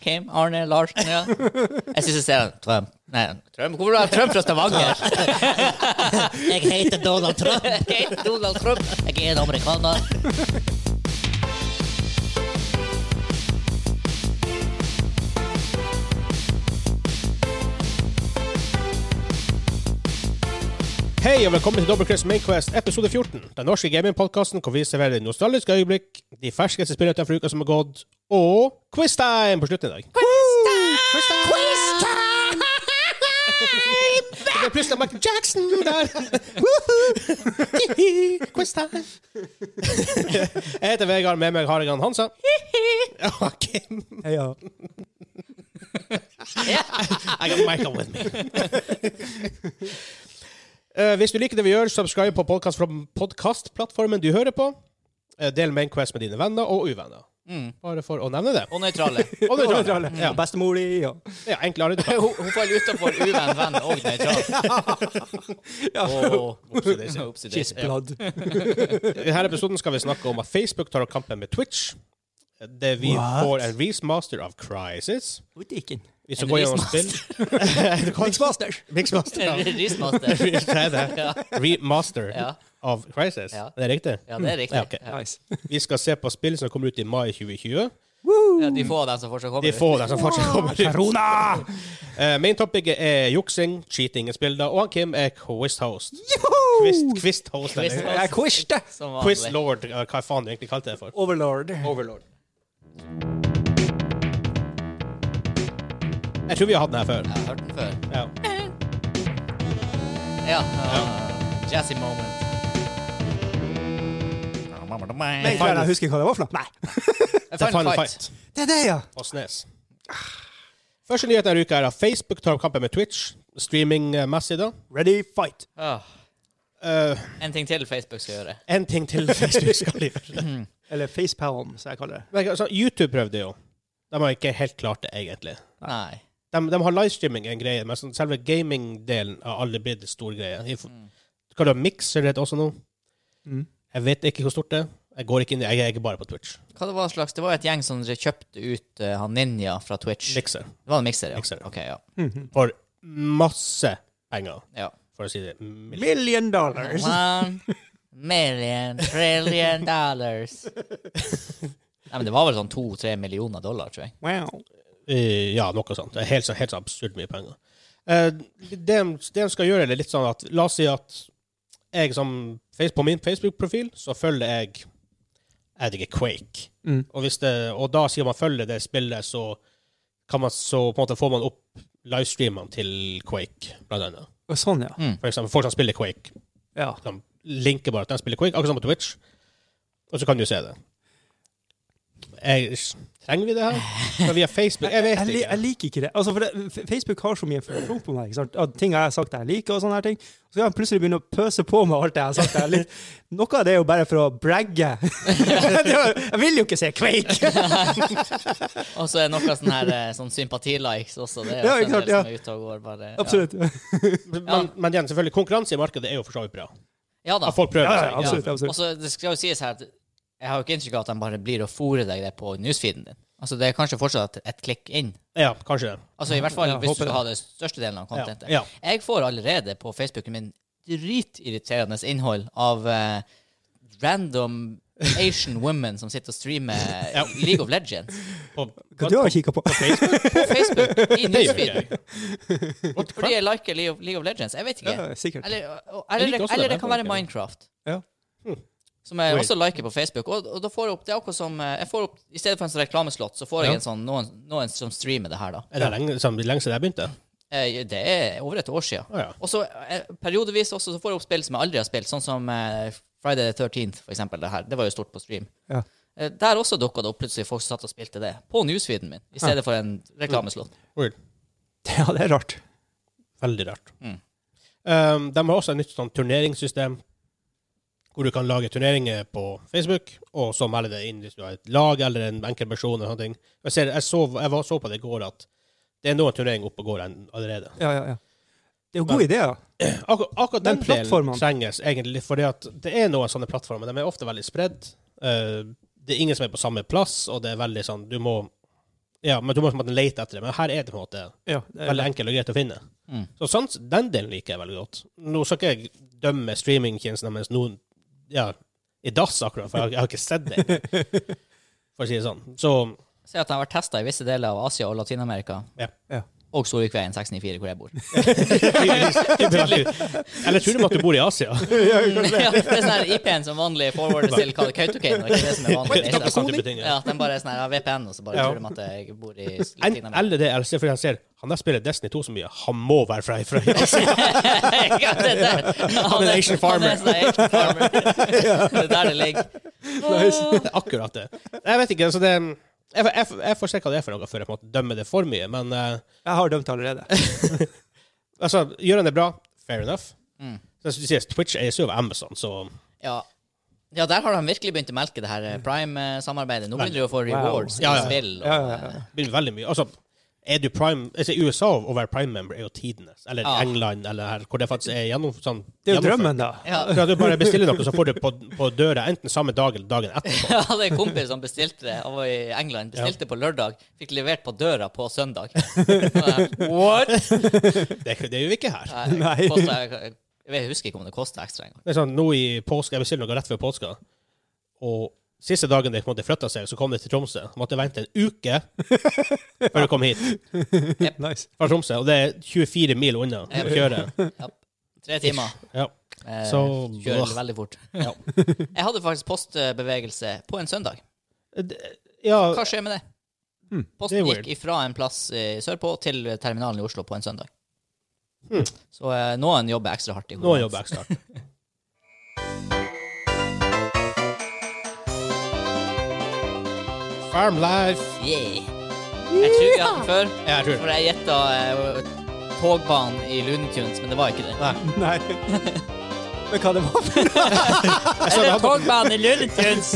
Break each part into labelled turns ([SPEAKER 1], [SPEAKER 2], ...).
[SPEAKER 1] Kim Arne Larsen, ja. Jeg syns jeg ser han Trump. Nei, Trump. Hvorfor er Trump fra Stavanger?
[SPEAKER 2] Jeg heter Donald Trump.
[SPEAKER 1] Jeg er Donald Trump.
[SPEAKER 2] Jeg er en amerikaner.
[SPEAKER 3] Hei og velkommen til Double Chris Mainquest episode 14. Den norske gamingpodkasten hvor vi serverer nostalgiske øyeblikk, de ferskeste spillene fra uka som har gått, og quiztime på slutten i dag. Quiztime! Det ble plutselig Michael Jackson der. Woohoo! Quiztime. Jeg heter Vegard, med meg har jeg han Hansa. Og Kim.
[SPEAKER 4] Heia.
[SPEAKER 3] I got Michael with me. Eh, hvis du liker det vi gjør, subscribe på podcast fra podcastplattformen du hører på. Eh, del Mainquest med dine venner og uvenner. Bare for å nevne det.
[SPEAKER 1] Mm. Og nøytrale.
[SPEAKER 3] Og nøytrale. Mm. Ja,
[SPEAKER 4] Og Bestemor di og
[SPEAKER 3] ja, enklere. du kan.
[SPEAKER 1] Hun, hun faller utafor uvenn, venn og nøytral. Åh, oopsie daisy. Ja.
[SPEAKER 4] Kissblad.
[SPEAKER 3] I denne episoden skal vi snakke om at Facebook tar opp kampen med Twitch. Eh, Det vi
[SPEAKER 4] What?
[SPEAKER 3] får en remaster av Crisis.
[SPEAKER 4] Butikken.
[SPEAKER 3] Vi
[SPEAKER 1] En
[SPEAKER 3] skal gå gjennom spill.
[SPEAKER 4] Mixmasters.
[SPEAKER 3] Mixmaster.
[SPEAKER 1] En
[SPEAKER 3] ja.
[SPEAKER 1] Rismaster.
[SPEAKER 3] Det er det. Remaster
[SPEAKER 1] Ja.
[SPEAKER 3] av Crisis.
[SPEAKER 1] Ja.
[SPEAKER 3] Det er riktig?
[SPEAKER 1] Ja, det er riktig.
[SPEAKER 3] Ja, ok.
[SPEAKER 1] Ja.
[SPEAKER 4] Nice.
[SPEAKER 3] Vi skal se på spill som kommer ut i mai 2020.
[SPEAKER 1] Ja, de få av dem som fortsatt kommer.
[SPEAKER 3] De få der som fortsatt kommer ut.
[SPEAKER 4] Corona!
[SPEAKER 3] Eh, main topicet er juksing, cheating i spillet, og han Kim er quiz-host. Quiz-host, eller
[SPEAKER 1] Quiz-host.
[SPEAKER 4] Jeg quiste!
[SPEAKER 1] Som vanlig.
[SPEAKER 3] quiz-lord, eh, hva faen du egentlig kalte det for.
[SPEAKER 4] Overlord.
[SPEAKER 3] Overlord. Jeg tror vi har hatt den her før.
[SPEAKER 1] Jeg har hørt den før.
[SPEAKER 3] Ja.
[SPEAKER 1] Ja. Uh, jazzy moment.
[SPEAKER 4] Jeg tror jeg husker hva det var for noe. Nei.
[SPEAKER 3] The Final Fight
[SPEAKER 4] Det er det, ja.
[SPEAKER 3] på Snes. Første nyhet denne uka er at Facebook tar opp kampen med Twitch, streaming-messig da.
[SPEAKER 4] Ready, fight.
[SPEAKER 1] Åh,
[SPEAKER 3] Eh,
[SPEAKER 1] en ting til Facebook skal gjøre.
[SPEAKER 3] en ting til Facebook skal gjøre.
[SPEAKER 4] Eller facepalm, som jeg kaller det.
[SPEAKER 3] Men, altså, YouTube prøvde jo. De har ikke helt klart det, egentlig.
[SPEAKER 1] Nei.
[SPEAKER 3] De, de har livestreaming en greie, men sånn selve gaming-delen har aldri blitt en stor greie. Jeg, f- Hva er det, Mixer heter også nå?
[SPEAKER 4] Mm.
[SPEAKER 3] Jeg vet ikke hvor stort det er. Jeg går ikke inn, i- jeg er ikke bare på Twitch.
[SPEAKER 1] Hva det var slags? Det var et gjeng som kjøpte ut eh, han Ninja fra Twitch.
[SPEAKER 3] Mixer.
[SPEAKER 1] Det var en mikser, ja.
[SPEAKER 3] Mixer, ja.
[SPEAKER 1] Ok, ja.
[SPEAKER 3] For masse penger,
[SPEAKER 1] ja.
[SPEAKER 3] for å si det mildt.
[SPEAKER 4] Million dollars.
[SPEAKER 1] One million trillion dollars. Nei, men det var vel sånn to-tre millioner dollar, tror jeg.
[SPEAKER 4] Wow.
[SPEAKER 3] Eh, Ja, noe sånt. Det er helt, så- helt så absurd mye penger. Eh, det, det de skal gjøre, er litt sånn at La oss si at jeg som face- På min Facebook-profil så følger jeg Jeg vet ikke Quake.
[SPEAKER 4] Mm.
[SPEAKER 3] Og, hvis det, og da sier man følger det spillet, så, kan man, så på en måte får man opp livestreamene til Quake, blant annet.
[SPEAKER 4] Og sånn, ja.
[SPEAKER 3] For eksempel folk som spiller Quake.
[SPEAKER 4] ja.
[SPEAKER 3] De linker bare at de spiller Quake, akkurat som på Twitch. Og så kan du se det. Jeg, trenger vi det her? For via Facebook? Jeg
[SPEAKER 4] Jeg,
[SPEAKER 3] vet
[SPEAKER 4] li- jeg
[SPEAKER 3] ikke.
[SPEAKER 4] liker ikke det. Altså, for det, F- Facebook har så mye informasjon på meg. Ikke sant? Av ting jeg har sagt jeg liker, og sånne her ting. Så kan jeg plutselig begynne å pøse på med alt det jeg har sagt. Jeg liker. Noe av det er jo bare for å bragge. jeg vil jo ikke se Quake!
[SPEAKER 1] Og så er det noe sånn her eh, sånn sympatilikes også. Det er
[SPEAKER 4] Ja,
[SPEAKER 1] også
[SPEAKER 4] ikke
[SPEAKER 1] en
[SPEAKER 4] sant,
[SPEAKER 1] del
[SPEAKER 4] ja.
[SPEAKER 1] som er ute og går, bare. Ja.
[SPEAKER 4] Absolutt. Ja,
[SPEAKER 3] Men, men igjen, selvfølgelig, konkurranse i markedet er jo for så vidt bra.
[SPEAKER 1] Ja da.
[SPEAKER 3] At folk prøver
[SPEAKER 4] ja,
[SPEAKER 3] seg.
[SPEAKER 4] ja, absolutt.
[SPEAKER 1] Og
[SPEAKER 4] absolutt.
[SPEAKER 1] så det skal jo sies her at jeg har jo ikke inntrykk av at de bare blir og fôrer deg det på newsfeeden din. Altså Det er kanskje fortsatt et klikk inn.
[SPEAKER 3] Ja, kanskje det.
[SPEAKER 1] Altså I hvert fall
[SPEAKER 4] Ja,
[SPEAKER 1] hvis du
[SPEAKER 4] håper
[SPEAKER 1] skal
[SPEAKER 4] det.
[SPEAKER 1] ha det største delen av contentet.
[SPEAKER 3] Ja,
[SPEAKER 1] Jeg får allerede på Facebooken min dritirriterende innhold av eh, random Asian women som sitter og streamer eh,
[SPEAKER 3] Ja.
[SPEAKER 1] League of Legends
[SPEAKER 3] På,
[SPEAKER 4] Hva du har du kikka på?
[SPEAKER 1] på Facebook i
[SPEAKER 3] det gjør ikke
[SPEAKER 1] newsfeeden.
[SPEAKER 3] jeg.
[SPEAKER 1] Fordi jeg liker League of, League of Legends. Jeg vet ikke.
[SPEAKER 4] Ja, sikkert.
[SPEAKER 1] Eller, og-
[SPEAKER 3] Jeg
[SPEAKER 1] eller,
[SPEAKER 3] liker
[SPEAKER 1] det,
[SPEAKER 3] også
[SPEAKER 1] eller
[SPEAKER 3] det,
[SPEAKER 1] det kan
[SPEAKER 3] jeg
[SPEAKER 1] være
[SPEAKER 3] liker det.
[SPEAKER 1] Minecraft.
[SPEAKER 4] Ja.
[SPEAKER 1] Som jeg
[SPEAKER 3] Weird.
[SPEAKER 1] også liker på Facebook. Og, og da får jeg opp, det er akkurat som eh, jeg får opp, I stedet for en sånn reklameslott, så får jeg
[SPEAKER 3] Ja.
[SPEAKER 1] en sånn, noen, noen som streamer det her, da.
[SPEAKER 3] Er det lenge, som, lenge siden jeg begynte?
[SPEAKER 1] Eh, Det er over et år siden.
[SPEAKER 3] Å ja.
[SPEAKER 1] Og så eh, periodevis også så får jeg opp spill som jeg aldri har spilt, sånn som eh, Friday the 13th, for eksempel. Det her. Det var jo stort på stream.
[SPEAKER 4] Ja.
[SPEAKER 1] Eh, Der også dukka det opp plutselig folk som satt og spilte det, på newsfeeden min, i stedet for en reklameslott.
[SPEAKER 3] Weird.
[SPEAKER 4] Ja, det er rart.
[SPEAKER 3] Veldig rart.
[SPEAKER 1] Mm.
[SPEAKER 3] Um, de har også et nytt sånn turneringssystem, hvor du kan lage turneringer på Facebook, og så melde det inn hvis du har et lag eller en enkeltperson. eller noe. Jeg, ser, jeg, så, jeg var, så på det i går at det er noen turneringer oppe og går en- allerede.
[SPEAKER 4] Ja, ja, ja. Det er jo gode ideer.
[SPEAKER 3] Akkur akkurat den,
[SPEAKER 4] Men
[SPEAKER 3] plattformen
[SPEAKER 4] plattformene-
[SPEAKER 3] trenges egentlig, fordi at det er noen sånne plattformer. De er ofte veldig spredd. Eh, det er ingen som er på samme plass, og det er veldig sånn Du må Ja, men du må på en måte lete etter det. Men her er det på en måte
[SPEAKER 4] Ja, det er
[SPEAKER 3] veldig enkelt og greit å finne.
[SPEAKER 1] Mm.
[SPEAKER 3] Så sant, den delen liker jeg veldig godt. Nå skal ikke jeg dømme streamingtjenesten deres noen ja, i dass, akkurat, for jeg, har- jeg har ikke sett det. ennå, For å si det sånn. Så
[SPEAKER 1] Ser at den har vært testa i visse deler av Asia og Latin-Amerika.
[SPEAKER 3] Ja.
[SPEAKER 4] Ja.
[SPEAKER 1] Og Storvikveien 694, hvor jeg bor.
[SPEAKER 3] tydeligvis- tydeligvis. Eller tror de at du bor i Asia?
[SPEAKER 1] ja, det er sånn her IP-en som vanlig forwarder til Ka- Kautokeino. Ikke det som er vanlig.
[SPEAKER 3] Takk for sånn type ting,
[SPEAKER 1] Ja,
[SPEAKER 3] ja.
[SPEAKER 1] at de bare er sånn her ja, VPN, og så bare
[SPEAKER 4] Ja.
[SPEAKER 1] tror de at jeg bor i
[SPEAKER 3] En-
[SPEAKER 1] Latin-Amerika.
[SPEAKER 3] Eller det, eller se, fordi han ser han der spiller Destiny 2 så mye, han må være fra fra Asia.
[SPEAKER 1] Ja, det er der. Han
[SPEAKER 3] er Asian
[SPEAKER 1] Han
[SPEAKER 3] farmer.
[SPEAKER 1] er sånn Asian farmer. Det er der det ligger.
[SPEAKER 3] Det er akkurat det. Jeg vet ikke, så det jeg, jeg, jeg får se hva det er for noe før jeg på en måte dømmer det for mye, men eh,
[SPEAKER 4] Jeg har dømt allerede.
[SPEAKER 3] altså, gjør han det bra, fair enough.
[SPEAKER 1] Mm.
[SPEAKER 3] Så jeg skulle si, at Twitch eies jo av Amazon, så
[SPEAKER 1] Ja. ja, der har han virkelig begynt å melke det her eh, Prime-samarbeidet. Nå begynner de å få
[SPEAKER 4] Wow.
[SPEAKER 1] rewards
[SPEAKER 3] Ja, ja, ja.
[SPEAKER 1] i spill. Og,
[SPEAKER 4] Ja, ja, ja.
[SPEAKER 1] eh,
[SPEAKER 3] blir det veldig mye. Altså, er du prime altså, I USA å være prime-member er jo tidenes. Eller
[SPEAKER 1] Ja.
[SPEAKER 3] England, eller her, hvor det faktisk er gjennom... Sånn,
[SPEAKER 4] Det er jo
[SPEAKER 3] gjennomført.
[SPEAKER 4] drømmen, da.
[SPEAKER 1] ja.
[SPEAKER 3] For at du bare bestiller noe, så får du på, på døra enten samme dag eller dagen etterpå.
[SPEAKER 1] Jeg hadde en kompis som bestilte det. Han var i England. Bestilte på lørdag. Fikk levert på døra på søndag. What?
[SPEAKER 3] Det, det er jo ikke her.
[SPEAKER 4] Nei.
[SPEAKER 1] Nei. Kostet, jeg, jeg husker ikke om det kosta ekstra engang.
[SPEAKER 3] Det er sånn, nå i påske, Jeg bestiller noe rett før påska, og siste dagen det på en måte flytta seg, så kom det til Tromsø. Måtte vente en uke før det kom hit
[SPEAKER 4] Nice.
[SPEAKER 3] fra Tromsø, og det er 24 mil unna å kjøre.
[SPEAKER 1] Tre timer.
[SPEAKER 3] Ja.
[SPEAKER 1] Eh,
[SPEAKER 3] Så-
[SPEAKER 1] Kjører
[SPEAKER 3] Åh.
[SPEAKER 1] veldig fort. Jeg hadde faktisk postbevegelse på en søndag.
[SPEAKER 3] Det- ja
[SPEAKER 1] Hva skjer med det?
[SPEAKER 4] Hmm,
[SPEAKER 1] Posten
[SPEAKER 3] det er
[SPEAKER 1] gikk ifra en plass eh, sørpå til terminalen i Oslo på en søndag.
[SPEAKER 3] Hmm.
[SPEAKER 1] Så eh, noen jobber ekstra hardt. i
[SPEAKER 3] nå
[SPEAKER 1] hodet.
[SPEAKER 3] jobber jeg snart. Farm life.
[SPEAKER 1] Yeah. Jeg tror vi har den før,
[SPEAKER 3] Ja, jeg tror det.
[SPEAKER 1] for jeg gjetta eh, togbanen i Looney Tunes, men det var ikke det.
[SPEAKER 4] Nei. Men hva det var for
[SPEAKER 3] så
[SPEAKER 1] Eller
[SPEAKER 3] det hadde-
[SPEAKER 1] togbanen i Looney Tunes!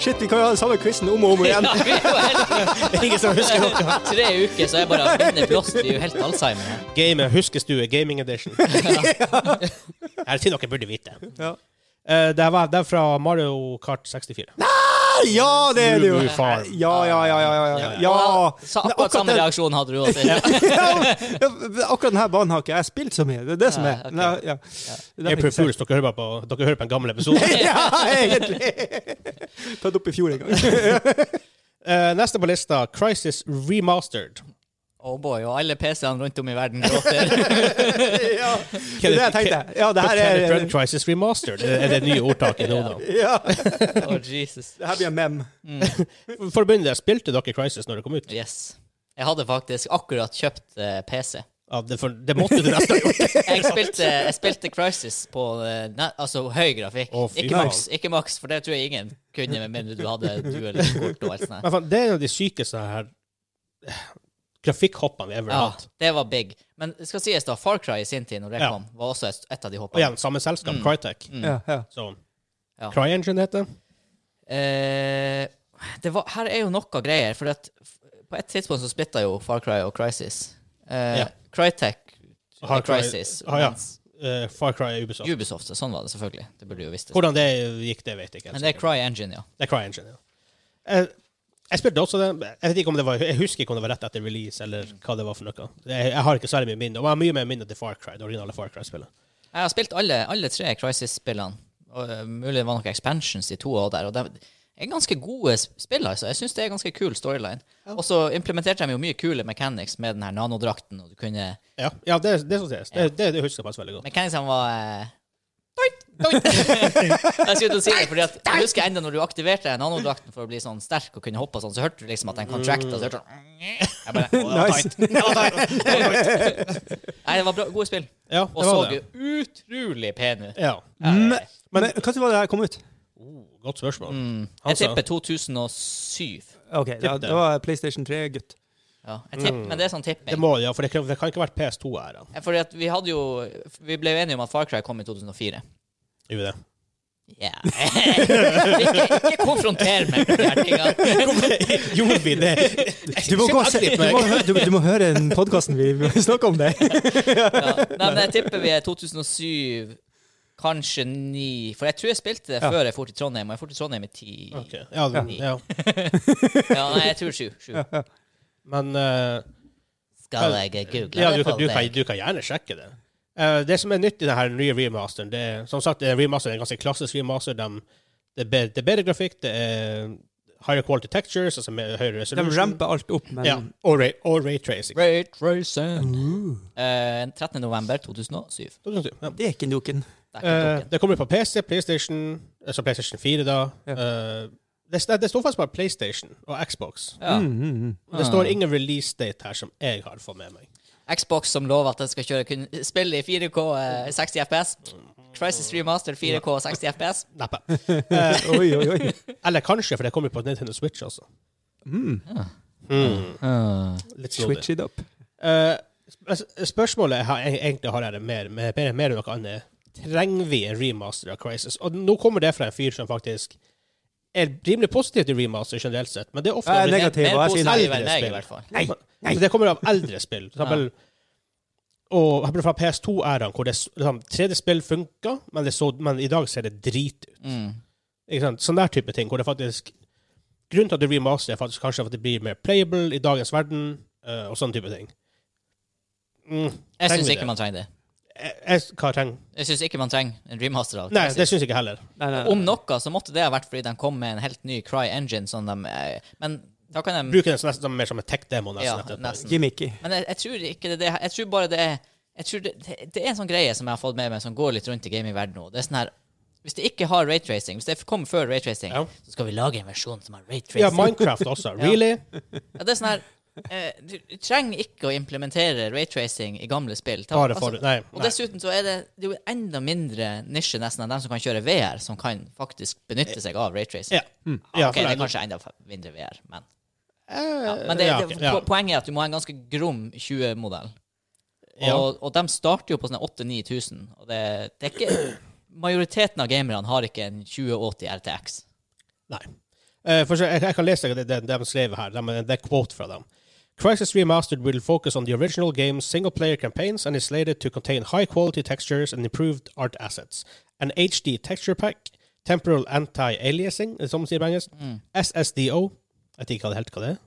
[SPEAKER 4] Shit, vi kan jo ha den samme quizen om og om
[SPEAKER 1] Ja,
[SPEAKER 4] igjen.
[SPEAKER 1] vi er jo helt-
[SPEAKER 3] Ingen som husker noe.
[SPEAKER 1] Tre uker, så jeg bare har minnet blåst. Vi er jo helt Alzheimer. her.
[SPEAKER 3] Gamer, huskestue, gaming edition. Her er ting dere burde vite.
[SPEAKER 4] Ja.
[SPEAKER 3] Eh, det, var, det er fra Mario Kart 64.
[SPEAKER 4] Ja, det er det jo!
[SPEAKER 3] Lulu Farm.
[SPEAKER 4] Ja, ja, ja. ja, ja, ja. ja.
[SPEAKER 1] Og sa-
[SPEAKER 4] Men
[SPEAKER 1] Akkurat samme
[SPEAKER 4] den-
[SPEAKER 1] reaksjon hadde du også.
[SPEAKER 4] Ja, akkurat denne banen har ikke jeg spilt så mye. Det er det som
[SPEAKER 1] Nei,
[SPEAKER 4] er.
[SPEAKER 1] ok.
[SPEAKER 4] Nei, ja. Den har jeg
[SPEAKER 3] April
[SPEAKER 4] ikke sett.
[SPEAKER 3] Fools, dere hører bare på, dere hører på en gammel episode.
[SPEAKER 4] ja, egentlig! Tatt opp i fjor en gang.
[SPEAKER 3] Eh, neste på lista, Crisis Remastered.
[SPEAKER 1] Oh boy, og alle PC-ene rundt om i verden gråter.
[SPEAKER 4] Ja, det er det jeg tenkte. Ja, det her
[SPEAKER 3] Kenneth
[SPEAKER 4] er
[SPEAKER 3] Brand Crisis Remastered er det nye ordtaket nå. da.
[SPEAKER 4] ja,
[SPEAKER 1] oh Jesus.
[SPEAKER 4] det her blir en mem.
[SPEAKER 3] For å begynne, spilte dere Crisis når det kom ut?
[SPEAKER 1] Yes. Jeg hadde faktisk akkurat kjøpt eh, PC.
[SPEAKER 3] Ja, det, for, det måtte du nesten ha gjort.
[SPEAKER 1] Jeg spilte, jeg spilte Crisis på eh, ne- altså, høy grafikk.
[SPEAKER 3] Å, fy
[SPEAKER 1] ikke
[SPEAKER 3] faen.
[SPEAKER 1] maks, ikke maks, for det tror jeg ingen kunne, med mindre du hadde duellkort og alt sånt. her.
[SPEAKER 3] Men faen, det er en av de sykeste her grafikkhoppene vi ever har
[SPEAKER 1] Ja,
[SPEAKER 3] hatt.
[SPEAKER 1] det var big. Men det skal sies, da, Far Cry i sin tid, når det
[SPEAKER 3] Ja.
[SPEAKER 1] kom, var også et, et av de
[SPEAKER 3] Og
[SPEAKER 1] hoppene.
[SPEAKER 3] igjen, samme selskap,
[SPEAKER 1] Mm.
[SPEAKER 3] Crytek.
[SPEAKER 1] Mm.
[SPEAKER 4] Ja, ja.
[SPEAKER 3] Så,
[SPEAKER 1] Ja.
[SPEAKER 3] CryEngine heter det.
[SPEAKER 1] Eh, det var, her er jo noe greier, for at f- på et tidspunkt så splitta jo Far Cry og Crisis. Eh,
[SPEAKER 3] Ja.
[SPEAKER 1] Crytek
[SPEAKER 3] Har
[SPEAKER 1] og
[SPEAKER 3] Cry-
[SPEAKER 1] Crisis.
[SPEAKER 3] Ah, ja.
[SPEAKER 1] mens
[SPEAKER 3] Eh, Far Cry er Ubisoft.
[SPEAKER 1] Ubisoft, sånn var det selvfølgelig. Det burde du jo visst. det.
[SPEAKER 3] Hvordan det gikk, det vet jeg ikke.
[SPEAKER 1] Men det er Cry Engine, ja.
[SPEAKER 3] Det er CryEngine, ja. Eh, jeg spilte også det. Jeg vet ikke om det var, jeg husker ikke om det var rett etter release, eller hva det var for noe. Jeg, jeg har ikke særlig mye minne. Og jeg har mye mer minne til Far Cry, det originale Far Cry-spillet.
[SPEAKER 1] Jeg har spilt alle, alle tre Crisis-spillene. Og eh, Mulig det var noen expansions de to også der. Og de er ganske gode s- spill, altså. Jeg syns det er ganske kul storyline. Og så implementerte de jo mye kule mechanics med den her nanodrakten, og du kunne
[SPEAKER 3] Ja, ja det, det, er sånn det, er. det, det, det husker jeg faktisk veldig godt.
[SPEAKER 1] Mekanismen var eh, doit, doit. Jeg skulle til å si det, fordi at jeg husker enda når du aktiverte nanodrakten for å bli sånn sterk og kunne hoppe og sånn, så hørte du liksom at den contracta, så hørte du sånn Jeg bare, «Å,
[SPEAKER 4] Nice. Mm.
[SPEAKER 1] det var tight. Det var tight. Nei, det var bra, gode spill.
[SPEAKER 3] Ja, det
[SPEAKER 1] Og så
[SPEAKER 3] var det.
[SPEAKER 1] jo utrolig pen ut.
[SPEAKER 3] Ja.
[SPEAKER 4] Men, men når var det her kom ut?
[SPEAKER 3] Oh, godt spørsmål.
[SPEAKER 1] Mm. Jeg
[SPEAKER 3] Altså.
[SPEAKER 1] tipper 2007.
[SPEAKER 4] Ok, ja, Det var PlayStation 3-gutt.
[SPEAKER 1] Ja, jeg tipper, Men det er sånn
[SPEAKER 3] Mm. Det
[SPEAKER 1] tipping.
[SPEAKER 3] må det, ja, for det kan, det kan ikke ha vært PS2-æra.
[SPEAKER 1] Fordi at vi hadde jo Vi ble jo enige om at Far Cry kom i 2004.
[SPEAKER 3] Gjør vi det?
[SPEAKER 1] Ja ikke, ikke konfronter meg med de her tingene.
[SPEAKER 3] Gjorde vi det?
[SPEAKER 4] Du må, gå og se, du må, hø- du, du må høre den podkasten vi vi snakker om det.
[SPEAKER 1] Ja. Nei, men jeg tipper vi er 2007, kanskje 9 For jeg tror jeg spilte det
[SPEAKER 4] Ja.
[SPEAKER 1] før jeg dro til Trondheim, og jeg dro til Trondheim i 10
[SPEAKER 3] Ok, Ja, men- ja.
[SPEAKER 1] Ja, nei, jeg tror 7. 7.
[SPEAKER 3] Men eh,
[SPEAKER 2] Skal jeg google
[SPEAKER 3] ja,
[SPEAKER 2] det
[SPEAKER 3] du,
[SPEAKER 2] for
[SPEAKER 3] kan, du, kan,
[SPEAKER 2] deg?
[SPEAKER 3] du kan gjerne sjekke det. Eh, det som er nytt i denne nye remasteren, det er som sagt, det er en remaster, det er en ganske klassisk remaster. De, det, er bedre, det er bedre grafikk, det er higher quality textures, altså med høyere
[SPEAKER 4] De
[SPEAKER 3] resolution.
[SPEAKER 4] ramper alt opp, men
[SPEAKER 3] ja, og, ray, og ray tracing.
[SPEAKER 1] Great Racing. Eh, 13. november 2007.
[SPEAKER 3] Ja.
[SPEAKER 4] det er ikke
[SPEAKER 1] Det er
[SPEAKER 4] duken.
[SPEAKER 1] ikke
[SPEAKER 3] Eh,
[SPEAKER 1] klokken.
[SPEAKER 3] det kommer på PC, PlayStation, altså PlayStation 4 da.
[SPEAKER 4] Ja.
[SPEAKER 3] Eh, det, det står faktisk bare PlayStation og Xbox.
[SPEAKER 1] Ja.
[SPEAKER 4] Mm, mm, mm.
[SPEAKER 3] Men Det står ingen release date her som jeg har fått med meg.
[SPEAKER 1] Xbox som lover at den skal kjøre kun spille i 4K eh, 60 FPS. Crisis Remaster 4K 60 FPS.
[SPEAKER 3] Neppe.
[SPEAKER 4] Oi, oi, oi.
[SPEAKER 3] Eller kanskje, for det kommer på Nintendo Switch også.
[SPEAKER 4] Mm.
[SPEAKER 3] Mm.
[SPEAKER 1] Uh.
[SPEAKER 3] Litt snodig.
[SPEAKER 4] Switch it up.
[SPEAKER 3] Eh, sp- spørsmålet jeg har, jeg, egentlig har her er mer, mer, mer, mer enn noe annet. Trenger vi en remaster av Crisis? Og nå kommer det fra en fyr som faktisk er rimelig positiv til remaster generelt sett, men det er ofte
[SPEAKER 4] Jeg er
[SPEAKER 3] det-
[SPEAKER 4] negativ, og
[SPEAKER 1] Mer
[SPEAKER 4] jeg sier nei.
[SPEAKER 1] positiv
[SPEAKER 3] nei.
[SPEAKER 1] enn meg, i hvert fall.
[SPEAKER 4] Nei, nei.
[SPEAKER 3] Så det kommer av eldre spill. For eksempel, Og for eksempel fra PS2-æraen, hvor det, s- liksom, 3D-spill funka, men, det så- men i dag ser det drit ut.
[SPEAKER 1] Mm.
[SPEAKER 3] Ikke sant? Sånn der type ting, hvor det faktisk Grunnen til at du remaster, er faktisk kanskje at det blir mer playable i dagens verden, eh, og sånne type ting. Mm.
[SPEAKER 1] Jeg
[SPEAKER 3] Trenger
[SPEAKER 1] syns
[SPEAKER 3] vi
[SPEAKER 1] ikke
[SPEAKER 3] det?
[SPEAKER 1] man trenger det.
[SPEAKER 3] Jeg, jeg, hva trenger
[SPEAKER 1] Jeg syns ikke man trenger en remaster av
[SPEAKER 3] Nei,
[SPEAKER 1] Crysis.
[SPEAKER 3] det syns jeg ikke heller.
[SPEAKER 1] Mm.
[SPEAKER 4] Nei, nei,
[SPEAKER 1] Om noe så måtte det ha vært fordi de kom med en helt ny Cry Engine, som de eh, Men da kan de
[SPEAKER 3] Bruker den som nesten som- mer som en tech-demo, nesten.
[SPEAKER 1] Ja,
[SPEAKER 3] etter et
[SPEAKER 1] nesten.
[SPEAKER 4] Gimmicky.
[SPEAKER 1] Men jeg, jeg tror ikke det er det Jeg tror bare det er jeg tror det, det, det er en sånn greie som jeg har fått med meg, som går litt rundt i gamingverdenen nå. Det er sånn her Hvis det ikke har raytracing, hvis det kommer før raytracing,
[SPEAKER 3] Ja.
[SPEAKER 1] så skal vi lage en versjon som har
[SPEAKER 3] par. Ja,
[SPEAKER 1] raytracing.
[SPEAKER 3] Minecraft også. Really?
[SPEAKER 1] Ja, det er sånn her eh, du, du trenger ikke å implementere raytracing i gamle spill. Ta-
[SPEAKER 3] Bare for
[SPEAKER 1] altså,
[SPEAKER 3] Nei.
[SPEAKER 1] og
[SPEAKER 3] nei.
[SPEAKER 1] dessuten så er det, det er jo enda mindre nisje nesten enn dem som kan kjøre VR, som kan faktisk benytte seg av raytracing.
[SPEAKER 3] Ja. ja
[SPEAKER 1] Mm. ok,
[SPEAKER 3] for
[SPEAKER 1] det er
[SPEAKER 3] nei,
[SPEAKER 1] kanskje enda fa- mindre VR, men
[SPEAKER 3] eh,
[SPEAKER 1] ja, Men det,
[SPEAKER 3] ja,
[SPEAKER 1] det,
[SPEAKER 3] ok, ja.
[SPEAKER 1] po- poenget er at du må ha en ganske grom 20-modell.
[SPEAKER 3] Ja.
[SPEAKER 1] Og, og de starter jo på sånne 8000-9000. Og det, det er ikke Majoriteten av gamerne har ikke en 2080 RTX.
[SPEAKER 3] Nei. Eh, for så, jeg, jeg kan lese det, det, det de skrev her. De, det er quote fra dem. Crisis Remastered will focus on the original game's single-player campaigns and is slated to contain high-quality textures and improved art assets. An HD texture pack, temporal anti-aliasing, eh, som man sier på engelsk,
[SPEAKER 1] Mm.
[SPEAKER 3] SSDO Jeg vet ikke hva det helt hva det er.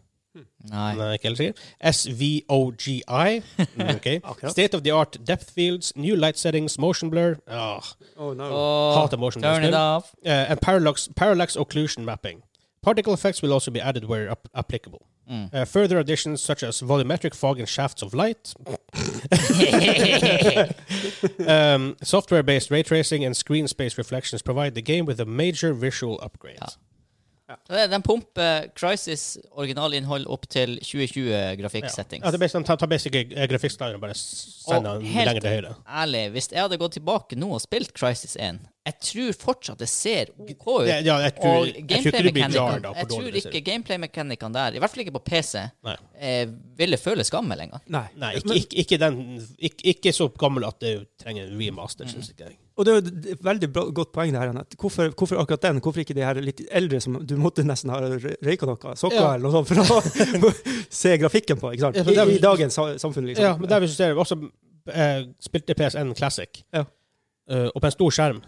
[SPEAKER 1] Nei.
[SPEAKER 3] Nei, ikke helt sikker. SVOGI. Mm, ok.
[SPEAKER 4] Akkurat.
[SPEAKER 3] State of the art depth fields, new light settings, motion blur Ah,
[SPEAKER 4] Oh, no.
[SPEAKER 1] Og
[SPEAKER 3] Hater motion
[SPEAKER 1] turn
[SPEAKER 3] blur.
[SPEAKER 1] it off.
[SPEAKER 3] Uh, and parallax, parallax occlusion mapping. Particle effects will also be added where ap- applicable.
[SPEAKER 1] Mm.
[SPEAKER 3] Uh, further additions such as volumetric fog and shafts of light, um, software based ray tracing, and screen space reflections provide the game with a major visual upgrade.
[SPEAKER 1] Ja. De pumper Crisis originalinnhold opp til 2020-grafikksettings.
[SPEAKER 3] Ja, det er best, ta, ta basically eh, grafikkstyleren og bare s- sende
[SPEAKER 1] Og
[SPEAKER 3] den
[SPEAKER 1] helt-
[SPEAKER 3] lenger til høyre.
[SPEAKER 1] Ærlig, hvis jeg hadde gått tilbake nå og spilt Crisis 1 Jeg tror fortsatt det ser OK ut.
[SPEAKER 3] Ja, ja, jeg tror-
[SPEAKER 1] og
[SPEAKER 3] jeg tror ikke du blir
[SPEAKER 1] gameplay-mekanikkene
[SPEAKER 3] jarred av hvor
[SPEAKER 1] Jeg
[SPEAKER 3] dårlig
[SPEAKER 1] tror
[SPEAKER 3] det ser
[SPEAKER 1] ikke gameplay-mekanikkene der, i hvert fall ikke på PC,
[SPEAKER 3] Nei.
[SPEAKER 1] eh, ville føle skammel engang.
[SPEAKER 4] Nei.
[SPEAKER 3] Nei, ikke, ikke, ikke, den, ikke, ikke så gammel at du trenger en remaster,
[SPEAKER 1] Mm.
[SPEAKER 3] synes ikke jeg.
[SPEAKER 4] Og det er jo et- et veldig bra, godt poeng det her, Anette. Hvorfor, hvorfor akkurat den? Hvorfor ikke de her litt eldre som du måtte nesten ha rø- røyka noe, sokker
[SPEAKER 3] Ja.
[SPEAKER 4] eller noe sånt, for å se grafikken på, ikke sant?
[SPEAKER 3] Ja, for det er
[SPEAKER 4] I,
[SPEAKER 3] vel-
[SPEAKER 4] I dagens sa- samfunn, liksom.
[SPEAKER 3] Ja, men der vi ser, også eh, spilte PSN Classic
[SPEAKER 4] Ja.
[SPEAKER 3] Eh, og på en stor skjerm.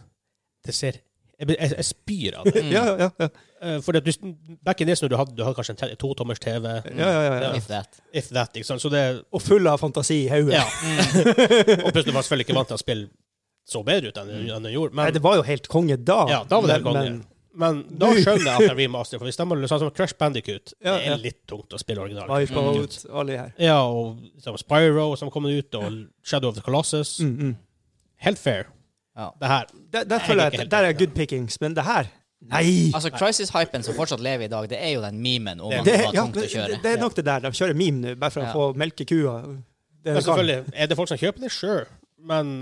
[SPEAKER 3] Det ser Jeg, blir- jeg, jeg spyr av det.
[SPEAKER 4] ja, ja, ja, ja.
[SPEAKER 3] Eh, fordi at du, back in this, når du hadde, du hadde kanskje en te- totommers TV,
[SPEAKER 4] ja, ja, ja, ja.
[SPEAKER 1] If that.
[SPEAKER 3] if that, ikke sant? Så det
[SPEAKER 4] Og full av fantasi i hodet.
[SPEAKER 3] Mm. Ja. og plutselig var jeg selvfølgelig ikke vant til å spille så bedre ut enn enn den gjorde.
[SPEAKER 4] Mm. Nei,
[SPEAKER 3] Men,
[SPEAKER 4] det var jo helt konge da.
[SPEAKER 3] ja, da var det helt
[SPEAKER 4] men-
[SPEAKER 3] konge. Men da skjønner jeg at det er remaster, for hvis de hadde sånn som Crash Bandicoot
[SPEAKER 4] Ja,
[SPEAKER 3] Det
[SPEAKER 4] ja.
[SPEAKER 3] er litt tungt å spille
[SPEAKER 4] men
[SPEAKER 3] originalt.
[SPEAKER 4] Wipeout, alle de her.
[SPEAKER 3] Ja, og som Spyro som kom ut, og Shadow of the Colossus.
[SPEAKER 4] Mm, mm.
[SPEAKER 3] Helt fair,
[SPEAKER 1] Ja.
[SPEAKER 3] det her.
[SPEAKER 4] Der, der
[SPEAKER 3] Jeg
[SPEAKER 4] føler
[SPEAKER 3] liker
[SPEAKER 4] jeg
[SPEAKER 3] helt
[SPEAKER 4] at der er
[SPEAKER 3] det.
[SPEAKER 4] good pickings, men det her Nei!
[SPEAKER 1] Altså, Crisis-hypen som fortsatt lever i dag, det er jo den memen om
[SPEAKER 3] Det-
[SPEAKER 1] at
[SPEAKER 4] Det,
[SPEAKER 1] det var
[SPEAKER 4] ja,
[SPEAKER 1] tungt å kjøre.
[SPEAKER 4] det, det er nok det der. De kjører meme nå, bare for
[SPEAKER 1] Ja.
[SPEAKER 4] å få melke kua. Det
[SPEAKER 3] Men
[SPEAKER 4] de kan.
[SPEAKER 3] selvfølgelig, er det folk som kjøper det? Sure. Men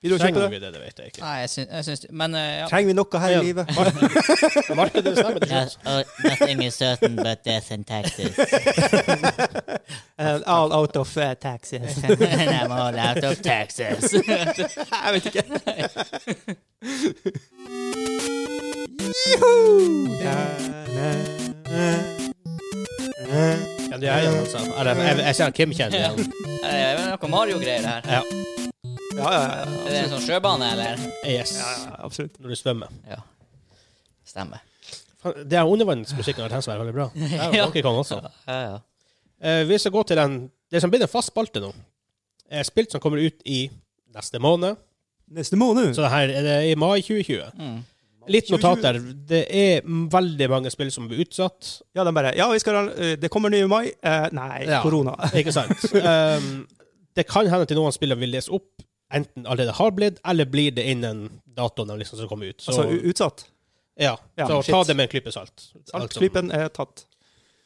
[SPEAKER 4] Vil du kjøpe
[SPEAKER 3] Trenger
[SPEAKER 4] det?
[SPEAKER 3] vi det, det vet jeg ikke.
[SPEAKER 1] Nei, jeg syns, jeg syns Men eh, ja.
[SPEAKER 4] Trenger vi noe her
[SPEAKER 3] Ja.
[SPEAKER 4] i livet?
[SPEAKER 3] Markedet bestemmer til
[SPEAKER 2] Yes,
[SPEAKER 3] slutt.
[SPEAKER 2] oh, nothing is certain but death and taxes.
[SPEAKER 4] And all out of uh, taxes.
[SPEAKER 2] And I'm all out of taxes.
[SPEAKER 4] jeg vet ikke. Juhu!
[SPEAKER 3] Ja, det er han, altså. Eller, jeg, jeg ser han Kim kjenner igjen.
[SPEAKER 1] Er det er noe Mario-greier her?
[SPEAKER 3] Ja.
[SPEAKER 4] Ja, ja, ja,
[SPEAKER 1] Er det en sånn sjøbane, eller?
[SPEAKER 3] Yes.
[SPEAKER 4] ja, absolutt.
[SPEAKER 3] Når du svømmer.
[SPEAKER 1] Ja. Stemmer.
[SPEAKER 3] Faen, Det er undervannsmusikken har tenkt seg å være veldig bra. Det er jo Donkey Kong også.
[SPEAKER 1] Ja, ja.
[SPEAKER 3] Eh, vi skal gå til den, det som blir en fast spalte nå. Eh, spilt som kommer ut i neste måned.
[SPEAKER 4] Neste måned.
[SPEAKER 3] Så det her er det i mai 2020.
[SPEAKER 1] Mm.
[SPEAKER 3] Litt notater. Det er m- veldig mange spill som blir utsatt.
[SPEAKER 4] Ja, de bare Ja, vi skal, eh, det kommer ny i mai. Eh, nei,
[SPEAKER 3] Ja.
[SPEAKER 4] korona.
[SPEAKER 3] Ikke sant? um, det kan hende til noen spillere vil lese opp, enten allerede har blitt, eller blir det innen datoen de liksom skal komme ut. Så,
[SPEAKER 4] Altså u- utsatt.
[SPEAKER 3] ja.
[SPEAKER 4] ja,
[SPEAKER 3] så
[SPEAKER 4] shit.
[SPEAKER 3] ta det med en klype salt. Alt som-
[SPEAKER 4] Saltklypen er tatt.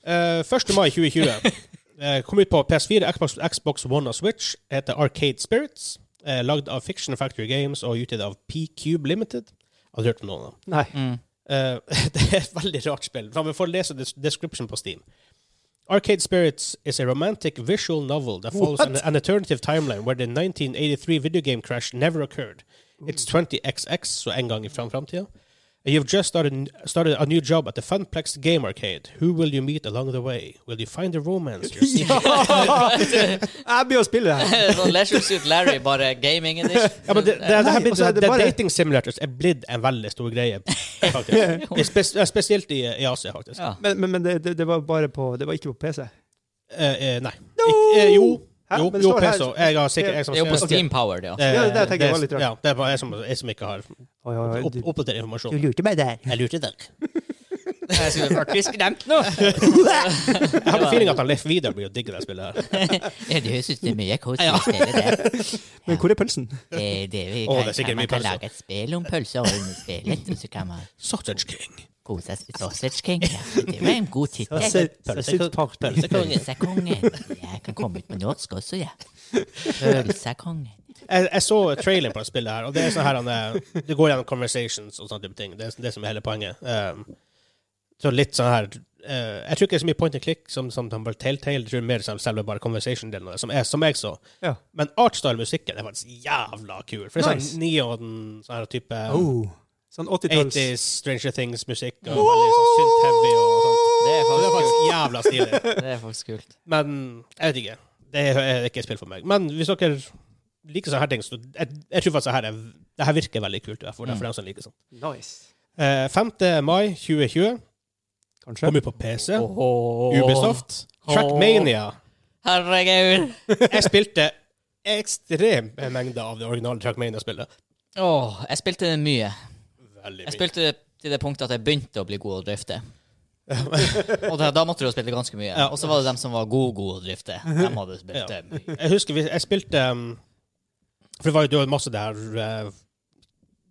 [SPEAKER 3] Eh, 1. mai 2020 eh, kom ut på PS4, Xbox, Xbox One og Switch. Heter Arcade Spirits. Eh, lagd av Fiction Factory Games og utgitt av P-Cube Limited. Har du hørt om noen av dem?
[SPEAKER 4] Nei.
[SPEAKER 1] Mm.
[SPEAKER 3] Eh, det er et veldig rart spill. La meg få lese des- description på Steam. Arcade Spirits is a romantic visual novel that follows an, an alternative timeline where the 1983 video game crash never occurred. It's 20XX, så en gang i fram framtida. And You've just started, started a new job at the Funplex Game Arcade. Who will you meet along the way? Will you find the romance you're seeking?
[SPEAKER 4] Ja! Jeg blir å spille det her.
[SPEAKER 1] Sånn Leisure Suit Larry, bare gaming edition.
[SPEAKER 3] Ja, men det, det, det, her
[SPEAKER 4] Nei,
[SPEAKER 3] blir-
[SPEAKER 4] og så er det
[SPEAKER 3] det-
[SPEAKER 4] bare-
[SPEAKER 3] Dating simulators er blitt en veldig stor greie, faktisk. I Spes, spesielt i, i Asia, faktisk.
[SPEAKER 1] Ja.
[SPEAKER 4] Men, men, men det, det, det var bare på Det var ikke på PC.
[SPEAKER 3] Eh, eh, nei.
[SPEAKER 4] No!
[SPEAKER 3] Ikk- eh, jo.
[SPEAKER 4] Hæ?
[SPEAKER 3] Jo,
[SPEAKER 4] Men det
[SPEAKER 3] jo
[SPEAKER 4] står her-
[SPEAKER 3] PSO. Jeg har sikkert jeg som
[SPEAKER 1] Det er jo på
[SPEAKER 3] ser-
[SPEAKER 1] Steam Power, det, ja.
[SPEAKER 3] Eh,
[SPEAKER 4] Ja, det tenker jeg
[SPEAKER 3] er-
[SPEAKER 4] var litt rart.
[SPEAKER 3] Ja, det er bare jeg som, jeg som ikke har
[SPEAKER 4] Oi, oi, oi.
[SPEAKER 3] opp,
[SPEAKER 4] Du,
[SPEAKER 3] oppdatert informasjon.
[SPEAKER 4] lurte meg der.
[SPEAKER 2] Jeg lurte dere.
[SPEAKER 1] Jeg skulle faktisk nevnt noe.
[SPEAKER 3] Jeg har en feeling at han Leif Vidar blir å digge det spillet her.
[SPEAKER 2] Ja, du synes det er mye koselig å spille det.
[SPEAKER 4] Men hvor er pølsen?
[SPEAKER 2] Det, Eh, det, vi
[SPEAKER 3] Å,
[SPEAKER 2] kan,
[SPEAKER 3] det er sikkert
[SPEAKER 2] man
[SPEAKER 3] mye
[SPEAKER 2] kan
[SPEAKER 3] pølser.
[SPEAKER 2] lage et spill om pølser og underspillet, og så kan man
[SPEAKER 3] Sausage King.
[SPEAKER 2] kose seg. Sausage King, ja. Det var en god tittel.
[SPEAKER 4] Pølseparty.
[SPEAKER 2] Pølsekongen. Ja, jeg kan komme ut på norsk også, ja. Pølsekongen.
[SPEAKER 3] Jeg, jeg så traileren på det spillet her, og det er sånn her han eh, Det går gjennom conversations og sånne type ting. Det er det som er hele poenget. Um, så litt sånn her eh, Jeg tror ikke det er så mye point and click som, som de bare telltale. Jeg tror mer som selve bare conversation-delen av det, som, er, som jeg så.
[SPEAKER 4] Ja.
[SPEAKER 3] Men artstyle-musikken er faktisk jævla kul. For det er
[SPEAKER 4] Nice.
[SPEAKER 3] sånn neon, sånn her type
[SPEAKER 4] Oh. Sånn 80-talls.
[SPEAKER 3] 80s Stranger Things-musikk. Og veldig sånn synth-heavy og sånt.
[SPEAKER 1] Det er
[SPEAKER 3] Så det er
[SPEAKER 1] faktisk kult.
[SPEAKER 3] faktisk jævla stilig.
[SPEAKER 1] Det er faktisk kult.
[SPEAKER 3] Men jeg vet ikke. Det er ikke et spill for meg. Men hvis dere liker sånne her ting, så jeg, jeg tror faktisk det her, er, det her virker veldig kult. i hvert fall,
[SPEAKER 1] Mm.
[SPEAKER 3] for dem som liker sånt.
[SPEAKER 4] Nice.
[SPEAKER 3] Eh, 5. mai 2020
[SPEAKER 4] Kanskje.
[SPEAKER 3] kommer på PC. Ubisoft. Trackmania.
[SPEAKER 1] Herregud.
[SPEAKER 3] Jeg spilte ekstrem mengde av det originale Trackmania-spillet.
[SPEAKER 1] Åh, jeg spilte det mye.
[SPEAKER 3] Veldig
[SPEAKER 1] Jeg
[SPEAKER 3] mye.
[SPEAKER 1] spilte det til det punktet at jeg begynte å bli god å drifte. og da, da måtte du jo spille ganske mye.
[SPEAKER 3] Ja.
[SPEAKER 1] Og så var det dem som var gode gode å drifte. Dem hadde spilt det mye.
[SPEAKER 3] Jeg husker vi, jeg spilte um, For det var jo det var masse det her uh,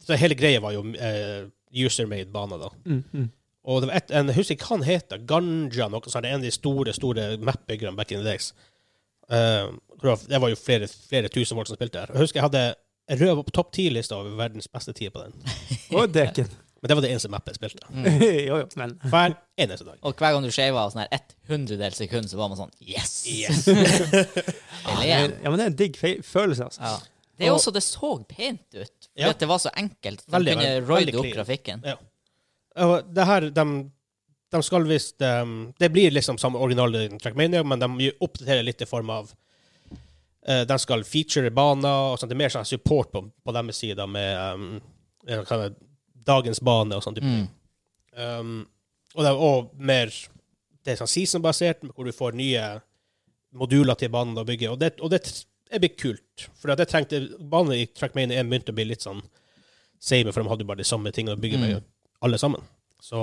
[SPEAKER 3] Så hele greia var jo uh, user-made bane, da.
[SPEAKER 4] Mm, mm.
[SPEAKER 3] Og det var et, en, jeg husker ikke hva han heter, Ganja noe sånt. En av de store store map-byggerne back in the days. Uh, hvor det var- det var jo flere, flere tusen folk som spilte her. Jeg husker jeg hadde jeg røv på topp ti-lista over verdens beste tid på den.
[SPEAKER 4] Og deken.
[SPEAKER 3] Men det var det eneste mappet jeg spilte.
[SPEAKER 4] jo, jo, men
[SPEAKER 3] Hver eneste dag.
[SPEAKER 1] Og hver gang du shava sånn her ett hundredels sekund, så var man sånn Yes!
[SPEAKER 3] Yes.
[SPEAKER 1] Spill
[SPEAKER 4] ja,
[SPEAKER 1] igjen.
[SPEAKER 4] men det er en digg fe- følelse, altså.
[SPEAKER 1] Ja. Det er også Det så pent ut. For
[SPEAKER 3] Ja.
[SPEAKER 1] at det var så enkelt. Du
[SPEAKER 3] Veldig,
[SPEAKER 1] kunne
[SPEAKER 3] veldig-
[SPEAKER 1] roide
[SPEAKER 3] veldig
[SPEAKER 1] opp
[SPEAKER 3] clean.
[SPEAKER 1] grafikken.
[SPEAKER 3] Ja. Og det her, de, de skal visst um, Det blir liksom samme originale Trackmania, men de gjør- oppdaterer litt i form av eh, De skal feature baner og sånt. Det er mer sånn support på, på deres side med um, jeg kan kalle det dagens bane og sånn type ting. Um, og det er også mer det er sånn season-basert, hvor du får nye moduler til banen å bygge. Og det, og det er blitt kult. For det trengte, banen i Trackmania 1 begynte å bli litt sånn same, for de hadde jo bare de samme tingene å bygge med, alle sammen. Så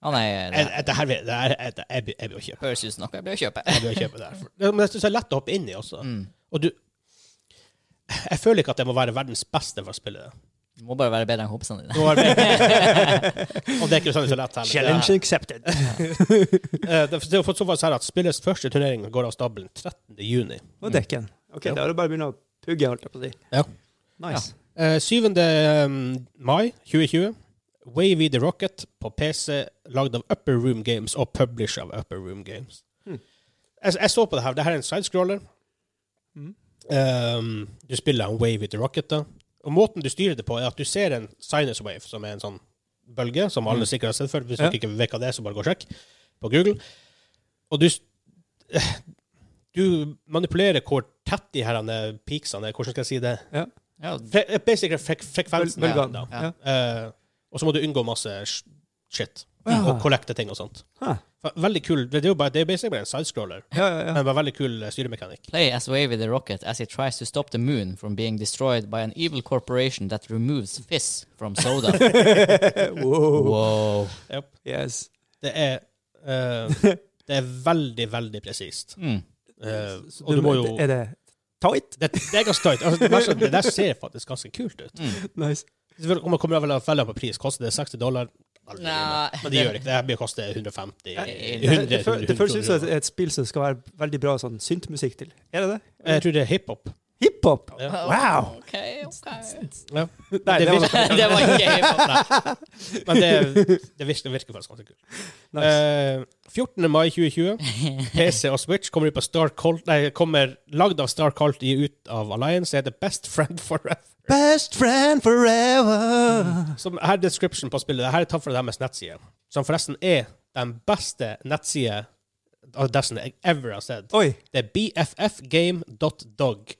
[SPEAKER 1] Å nei, det
[SPEAKER 3] jeg, jeg, det her vil- det her- jeg, jeg, blir- jeg blir å kjøpe.
[SPEAKER 1] høres ut som noe jeg blir å kjøpe.
[SPEAKER 3] Jeg blir å kjøpe det her. For- Men jeg synes det er lett å hoppe inn i også.
[SPEAKER 1] Mm.
[SPEAKER 3] Og du Jeg føler ikke at jeg må være verdens beste for å spille det.
[SPEAKER 1] Du må bare være bedre enn kompisene dine.
[SPEAKER 3] Nå er det- og det er ikke sånn så lett heller.
[SPEAKER 4] Challenge accepted.
[SPEAKER 3] Eh, Det det er for- såpass her at spillets første turnering går av stabelen 13. juni.
[SPEAKER 4] Og dekken. OK,
[SPEAKER 3] Ja.
[SPEAKER 4] da er det bare å begynne å pugge, holdt jeg på å si.
[SPEAKER 3] Ja.
[SPEAKER 4] Nice.
[SPEAKER 3] Eh, 7. um, mai 2020. Wavy the Rocket på PC, lagd av Upper Room Games og published av Upper Room Games.
[SPEAKER 4] Hmm.
[SPEAKER 3] Jeg, jeg så på det her. Det her er en sidescroller.
[SPEAKER 4] Mm.
[SPEAKER 3] Um, du spiller en Wavy the Rocket, da. Og måten du styrer det på, er at du ser en sinus wave, som er en sånn bølge, som alle sikkert har sett før. Hvis
[SPEAKER 4] Hmm. Ja.
[SPEAKER 3] dere ikke vet hva det er, så bare gå og sjekk på Google. Og du s- eh, du manipulerer hvor tett de her eh, peaksene er. Hvordan skal jeg si det?
[SPEAKER 1] Ja,
[SPEAKER 3] Fre basically frek frekvensen.
[SPEAKER 4] Bøl- bølgene.
[SPEAKER 3] da.
[SPEAKER 4] Ja.
[SPEAKER 3] Eh, og så må du unngå masse sh- shit.
[SPEAKER 4] Ja.
[SPEAKER 3] og collecte ting og sånt.
[SPEAKER 4] Hæ.
[SPEAKER 3] Fe- Veldig kul. Det er jo bare, det er basically bare en sidescroller,
[SPEAKER 4] Ja, ja, ja.
[SPEAKER 3] men bare veldig kul eh, styremekanikk.
[SPEAKER 1] Play as Wavy the Rocket as he tries to stop the moon from being destroyed by an evil corporation that removes fish from soda.
[SPEAKER 4] Wow.
[SPEAKER 1] Wow.
[SPEAKER 3] Yep.
[SPEAKER 4] Yes.
[SPEAKER 3] Det er eh, Det er veldig, veldig presist.
[SPEAKER 1] Mm.
[SPEAKER 3] Eh,
[SPEAKER 4] Så
[SPEAKER 3] og du må jo
[SPEAKER 4] Er det tight?
[SPEAKER 3] det, det er ganske tight. Altså, det, der, det der ser faktisk ganske kult ut.
[SPEAKER 4] Nice.
[SPEAKER 3] Selvfølgelig, Om man kommer vel fella på pris, koster det 60 dollar? Aldri
[SPEAKER 1] Nei.
[SPEAKER 3] gjør det. Men det gjør ikke det. Det her blir å koste 150
[SPEAKER 1] Nei,
[SPEAKER 4] Det,
[SPEAKER 3] 100,
[SPEAKER 4] det, fø-
[SPEAKER 3] 100,
[SPEAKER 4] det føles ut som et, et spill som skal være veldig bra sånn syntmusikk til. Er det det?
[SPEAKER 3] Jeg tror det er hiphop.
[SPEAKER 4] Hiphop!
[SPEAKER 3] Ja.
[SPEAKER 4] Wow!
[SPEAKER 1] OK, OK.
[SPEAKER 3] Ja.
[SPEAKER 4] Nei, det var
[SPEAKER 1] det var ikke hiphop.
[SPEAKER 3] Men det, det virker, virker faktisk ganske kult.
[SPEAKER 4] nice.
[SPEAKER 3] Eh, 14. mai 2020. PC og Switch kommer ut på Star Colt Nei, kommer lagd av Star Colt i ut av Alliance. Det heter Best Friend Forever.
[SPEAKER 4] Best friend forever!
[SPEAKER 3] Som her er description på spillet. Dette er tatt fra deres nettside. Som forresten er den beste nettsida av Destiny jeg ever har sett.
[SPEAKER 4] Oi!
[SPEAKER 3] Det er bffgame.dog.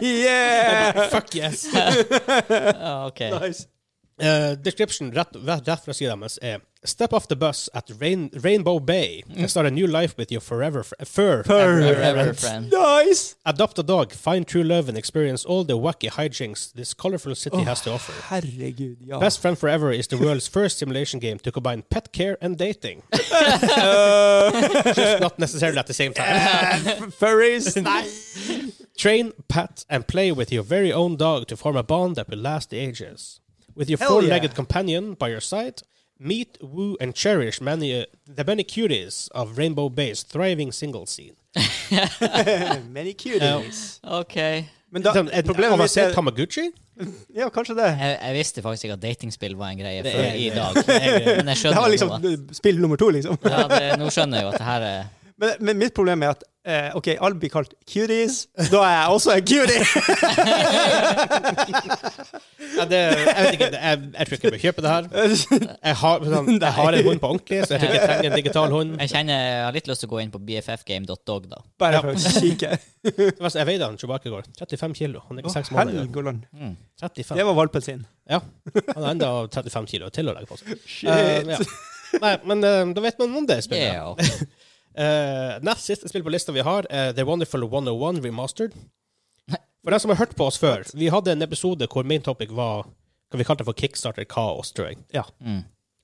[SPEAKER 4] yeah!
[SPEAKER 3] Fuck yes!
[SPEAKER 1] Ja, OK.
[SPEAKER 4] Nice.
[SPEAKER 3] Eh, description rett, rett, rett fra sida deres er Step off the bus at Rain, Rainbow Bay and start a new life with your forever fr fur.
[SPEAKER 1] Forever friend.
[SPEAKER 4] Nice!
[SPEAKER 3] Adopt a dog, find true love and experience all the wacky hijinks this colorful city has to offer.
[SPEAKER 4] Herregud, ja.
[SPEAKER 3] Best Friend Forever is the world's first simulation game to combine pet care and dating.
[SPEAKER 4] Oh.
[SPEAKER 3] Just not necessarily at the same time.
[SPEAKER 4] Furries!
[SPEAKER 3] Train, pet, and play with your very own dog to form a bond that will last the ages. With your
[SPEAKER 4] Hell
[SPEAKER 3] four-legged
[SPEAKER 4] yeah.
[SPEAKER 3] companion by your side, meet, woo, and cherish many uh, the many cuties of Rainbow Bay's thriving single scene.
[SPEAKER 4] Many cuties.
[SPEAKER 1] OK. Jeg,
[SPEAKER 4] Men da,
[SPEAKER 3] Sånn, et
[SPEAKER 4] problemet mitt
[SPEAKER 3] avansert
[SPEAKER 4] Liksom, er
[SPEAKER 3] Tamagotchi?
[SPEAKER 4] Ja, kanskje det.
[SPEAKER 1] jeg visste faktisk ikke at datingspill var en greie
[SPEAKER 3] Det
[SPEAKER 1] før
[SPEAKER 3] er-
[SPEAKER 1] i dag. Men jeg
[SPEAKER 4] Det var
[SPEAKER 1] skjønner jo
[SPEAKER 4] liksom
[SPEAKER 1] nå at
[SPEAKER 4] spill nummer to, liksom.
[SPEAKER 1] ja, det, Nå skjønner jeg jo at det her er
[SPEAKER 4] Men, men mitt problem er at eh, OK, alle blir kalt cuties. Da er jeg også en cutie! Uh,
[SPEAKER 3] Ja, det, jeg vet ikke, det- jeg, jeg tror ikke jeg bør kjøpe det her. Jeg har, sånn, jeg har en hund på ordentlig, så jeg tror ikke jeg trenger en digital hund.
[SPEAKER 1] Jeg kjenner jeg har litt lyst til å gå inn på bffgame.dog, da.
[SPEAKER 4] Bare
[SPEAKER 3] Ja.
[SPEAKER 4] for å kikke.
[SPEAKER 3] Forresten, Jeg veide han Chewbacca i går. 35 kilo. Han er ikke 6 måneder. gammel.
[SPEAKER 4] Helgoland.
[SPEAKER 3] 35.
[SPEAKER 4] Det var valpen sin.
[SPEAKER 3] Ja. Han er enda 35 kilo til å legge på seg.
[SPEAKER 4] Shit.
[SPEAKER 3] Eh, ja. Nei, men eh, da vet man om det spillet.
[SPEAKER 1] Yeah.
[SPEAKER 3] Eh, nest siste spill på lista vi har, er The Wonderful 101 Remastered. For den som har hørt på oss før, vi hadde en episode hvor main topic var hva vi kalte for Kickstarter kaos, tror jeg.
[SPEAKER 4] Ja.
[SPEAKER 1] Mm.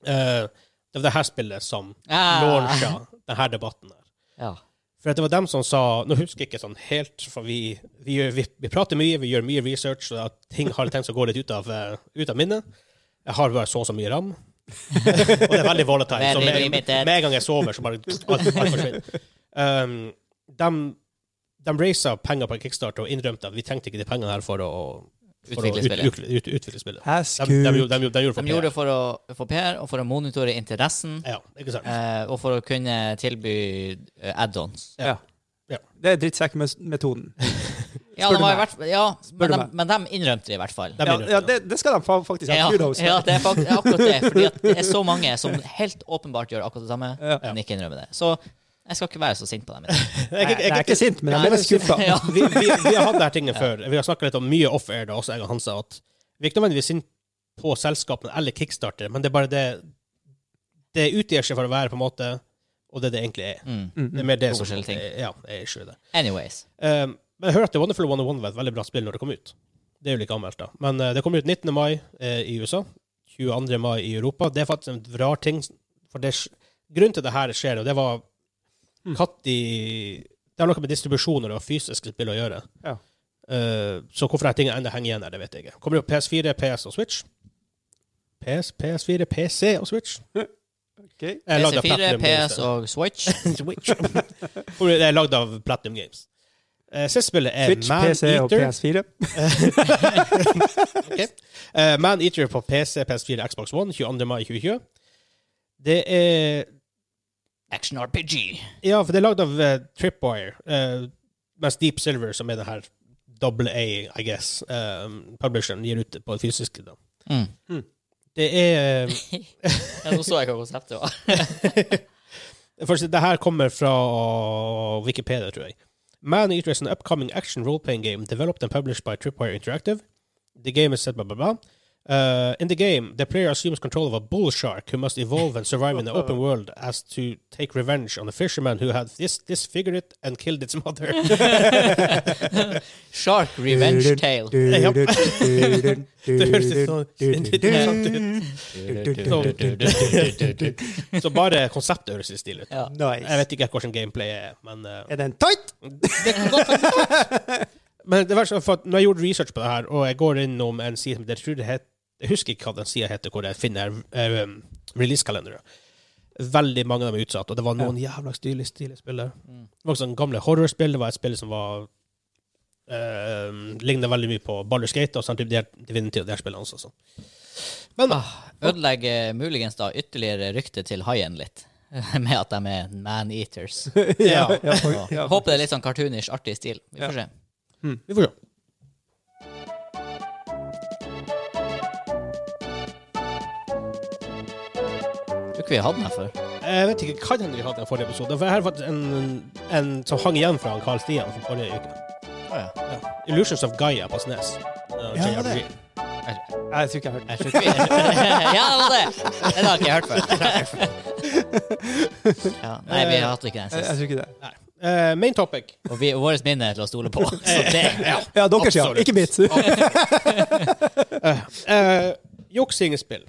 [SPEAKER 3] Eh, det var det her spillet som
[SPEAKER 1] Ah.
[SPEAKER 3] launcha denne debatten. her.
[SPEAKER 1] Ja.
[SPEAKER 3] For at det var dem som sa Nå husker jeg ikke sånn helt, for vi, vi, gjør, vi, vi prater mye, vi gjør mye research, og at ting har ting som går litt ut av, eh, ut av minnet. Jeg har bare så og så mye ram. og det er veldig volatile. Så
[SPEAKER 1] Veldig
[SPEAKER 3] med, med
[SPEAKER 1] limited.
[SPEAKER 3] en gang jeg sover, så bare alt, alt forsvinner. Um, de de raisa penger på Kickstarter og innrømte at vi trengte ikke de pengene her for å, for
[SPEAKER 1] Utvikle
[SPEAKER 3] å ut,
[SPEAKER 1] spillet.
[SPEAKER 3] ut, ut, utvikle spillet. De, de,
[SPEAKER 4] Hæsku.
[SPEAKER 3] gjorde- de, gjorde- de gjorde
[SPEAKER 1] De
[SPEAKER 3] for
[SPEAKER 1] gjorde
[SPEAKER 3] PR.
[SPEAKER 1] det for å få PR, og for å monitore interessen,
[SPEAKER 3] Ja, ikke sant?
[SPEAKER 1] eh, og for å kunne tilby eh, add-ons.
[SPEAKER 4] Ja.
[SPEAKER 3] Ja.
[SPEAKER 4] Det er drittsekkmetoden.
[SPEAKER 1] Ja,
[SPEAKER 4] Spør
[SPEAKER 1] de var
[SPEAKER 4] du
[SPEAKER 1] i
[SPEAKER 4] meg?
[SPEAKER 1] hvert fall- ja men,
[SPEAKER 4] du
[SPEAKER 1] de,
[SPEAKER 4] meg?
[SPEAKER 1] men de innrømte det i hvert fall.
[SPEAKER 3] De
[SPEAKER 4] Ja,
[SPEAKER 3] innrømte
[SPEAKER 4] ja
[SPEAKER 3] det.
[SPEAKER 4] det, det skal de fa- faktisk ha
[SPEAKER 1] Ja,
[SPEAKER 4] kudos
[SPEAKER 1] ja,
[SPEAKER 4] for.
[SPEAKER 1] det er fakt- det er akkurat det. Fordi at det er så mange som helt åpenbart gjør akkurat det samme,
[SPEAKER 4] Ja.
[SPEAKER 1] men ikke innrømmer det. Så jeg skal ikke være så sint på dem. i dag.
[SPEAKER 3] Jeg- jeg-
[SPEAKER 4] Jeg
[SPEAKER 3] jeg-
[SPEAKER 4] er ikke sint, men jeg er skuffa.
[SPEAKER 1] Ja.
[SPEAKER 3] vi, vi, vi har hatt det her tinget før. Vi har snakka litt om mye off-air, da, også jeg og Hansa. At vi er ikke nødvendigvis sint på selskapene eller kickstarter, men det er bare det Det utgir seg for å være, på en måte, og det det egentlig er.
[SPEAKER 1] Mm.
[SPEAKER 3] Det er mer det
[SPEAKER 1] To
[SPEAKER 3] som
[SPEAKER 1] forskjellige ting.
[SPEAKER 3] Ja, er issue i det.
[SPEAKER 1] Anyways.
[SPEAKER 3] Um, men jeg hører at The Wonderful 101 var et veldig bra spill når det kom ut. Det er jo like anmeldt, da. Men eh, det kom ut 19. mai eh, i USA, 22. mai i Europa. Det er faktisk en rar ting. For det, sk- grunnen til det her skjer, og det var
[SPEAKER 1] Mm.
[SPEAKER 3] katt i Det har noe med distribusjoner og fysiske spill å gjøre.
[SPEAKER 4] Ja.
[SPEAKER 3] Eh, så hvorfor dette tinget ennå henger igjen her, det vet jeg ikke. Kommer det på PS4, PS og Switch? PS, PS4, PC og Switch?
[SPEAKER 4] Ok.
[SPEAKER 3] Jeg er lagd av
[SPEAKER 1] PC4,
[SPEAKER 3] Platinum Games,
[SPEAKER 1] PS
[SPEAKER 3] det.
[SPEAKER 1] og Switch.
[SPEAKER 3] Switch. Hvor Det er lagd av Platinum Games. Eh, Siste spillet er
[SPEAKER 4] Switch,
[SPEAKER 3] Man
[SPEAKER 4] PC og
[SPEAKER 3] Eater.
[SPEAKER 4] PS4.
[SPEAKER 3] Ok. Eh, Man Eater på PC, PS4, Xbox One 22. mai 2020. Det er
[SPEAKER 1] Action RPG.
[SPEAKER 3] Ja, for det er lagd av eh, Tripwire, eh, mens Deep Silver, som er den her double A, I guess, eh, publisheren, gir ut på fysisk. Da.
[SPEAKER 1] Mm.
[SPEAKER 3] Det er
[SPEAKER 1] Ja, nå så jeg hva konseptet var.
[SPEAKER 3] For å si, det her kommer fra Wikipedia, tror jeg. Man Eater is an upcoming action role-playing game developed and published by Tripwire Interactive. The game is set blah, blah, blah. Uh, in the game, the player assumes control of a bull shark who must evolve and survive in the open world as to take revenge on the fisherman who had dis- disfigured it and killed its mother.
[SPEAKER 1] Shark Revenge Tale.
[SPEAKER 3] Ja. Det høres litt sånn
[SPEAKER 4] Nei,
[SPEAKER 3] interessant ut. Så bare konseptet høres litt stilig ut.
[SPEAKER 1] Ja.
[SPEAKER 3] Jeg vet ikke hvordan gameplay er, men eh,
[SPEAKER 4] Er den tight?
[SPEAKER 3] det kan godt hende. Men det verste er for at når jeg gjorde research på det her, og jeg går innom en side som jeg tror det het, Jeg husker ikke hva den sida heter, hvor jeg finner eh, um, releasekalendere. Veldig mange av dem er utsatt, og det var noen jævla stilige stilige spill der.
[SPEAKER 1] Mm.
[SPEAKER 3] Det var også en gamle horrorspill. Det var et spill som var eh, lignet veldig mye på Baller Skate og sånn typ de her Divinity og de her spillene også. Sånn. Men
[SPEAKER 1] Ah. Ødelegger muligens da ytterligere ryktet til haien litt. Med at de er man-eaters.
[SPEAKER 3] ja,
[SPEAKER 1] Så Håper det er litt sånn cartoonish, artig stil. Vi får se.
[SPEAKER 3] hm, vi får se.
[SPEAKER 1] Tror ikke vi har hatt den her før.
[SPEAKER 3] Jeg vet ikke hva den vi hadde i forrige episode, for her var det en, en som hang igjen fra han Carl Stian fra forrige uke.
[SPEAKER 1] Å, ja.
[SPEAKER 3] Ja. Illusions of Gaia på SNES.
[SPEAKER 4] Ja,
[SPEAKER 3] JRPG.
[SPEAKER 4] det. Jeg tror ikke jeg har hørt den.
[SPEAKER 1] Jeg tror ikke vi Ja, det var det! Den har ikke jeg hørt før. Ja, nei, vi hadde ikke den
[SPEAKER 4] Jeg jeg
[SPEAKER 1] sist.
[SPEAKER 4] tror ikke det.
[SPEAKER 3] Nei. Eh, main topic.
[SPEAKER 1] Og vi, vårt minne er til å stole på. Så det
[SPEAKER 4] Ja, deres, ja.
[SPEAKER 3] Absolutt.
[SPEAKER 4] Ikke mitt. Ja,
[SPEAKER 3] Uh, Juksingespill.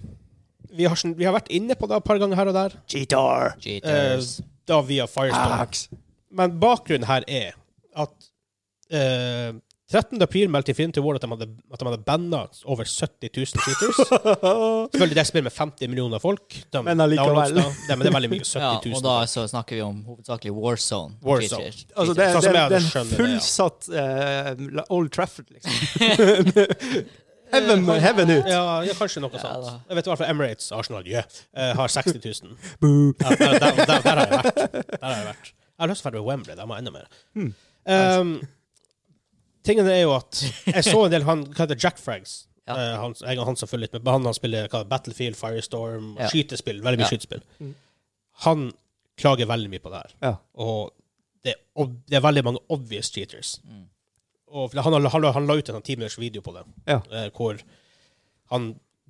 [SPEAKER 3] Vi har, sn- vi har vært inne på det et par ganger her og der,
[SPEAKER 2] Cheater.
[SPEAKER 3] eh,
[SPEAKER 1] Cheaters.
[SPEAKER 3] da via
[SPEAKER 4] Ah.
[SPEAKER 3] Firestone. Men bakgrunnen her er at eh, 13. april meldte Infinity War at de hadde, at de hadde banna over 70 000 cheaters. Selvfølgelig det er et spill med 50 millioner folk. De,
[SPEAKER 4] Men allikevel.
[SPEAKER 3] downloads da. Det, men det er veldig mye. 70
[SPEAKER 1] Ja,
[SPEAKER 3] 000.
[SPEAKER 1] og da så snakker vi om hovedsakelig Warzone.
[SPEAKER 3] Warzone.
[SPEAKER 1] Cheaters.
[SPEAKER 4] Altså, det,
[SPEAKER 3] Sånn
[SPEAKER 4] det,
[SPEAKER 3] som jeg
[SPEAKER 4] det er
[SPEAKER 3] hadde
[SPEAKER 4] en
[SPEAKER 3] skjønner det, ja.
[SPEAKER 4] fullsatt eh, Old Trafford, liksom. Eh, heaven, heaven ut.
[SPEAKER 3] Ja, ja, kanskje noe sånt.
[SPEAKER 1] da.
[SPEAKER 3] Jeg vet i hvert fall Emirates Arsenal yeah, eh, har 60 000. Ja, der, der, der, der har jeg vært. Der har jeg vært. Jeg har lyst til å dra til Wembley. Der må jeg enda mer. Um, tingen er jo at jeg så en del han Hva heter Jack Frags?
[SPEAKER 1] Ja.
[SPEAKER 3] Eh, han, jeg og han som følger litt med. men Han, han spiller hva, Battlefield, Firestorm,
[SPEAKER 1] Ja.
[SPEAKER 3] skytespill. Veldig mye
[SPEAKER 1] Ja.
[SPEAKER 3] skytespill. Han klager veldig mye på det her.
[SPEAKER 4] Ja.
[SPEAKER 3] Og det, og det er veldig mange obvious cheaters. Og for han, han, han, han la ut en sånn ti minutters video på det,
[SPEAKER 4] Ja.
[SPEAKER 3] eh, hvor han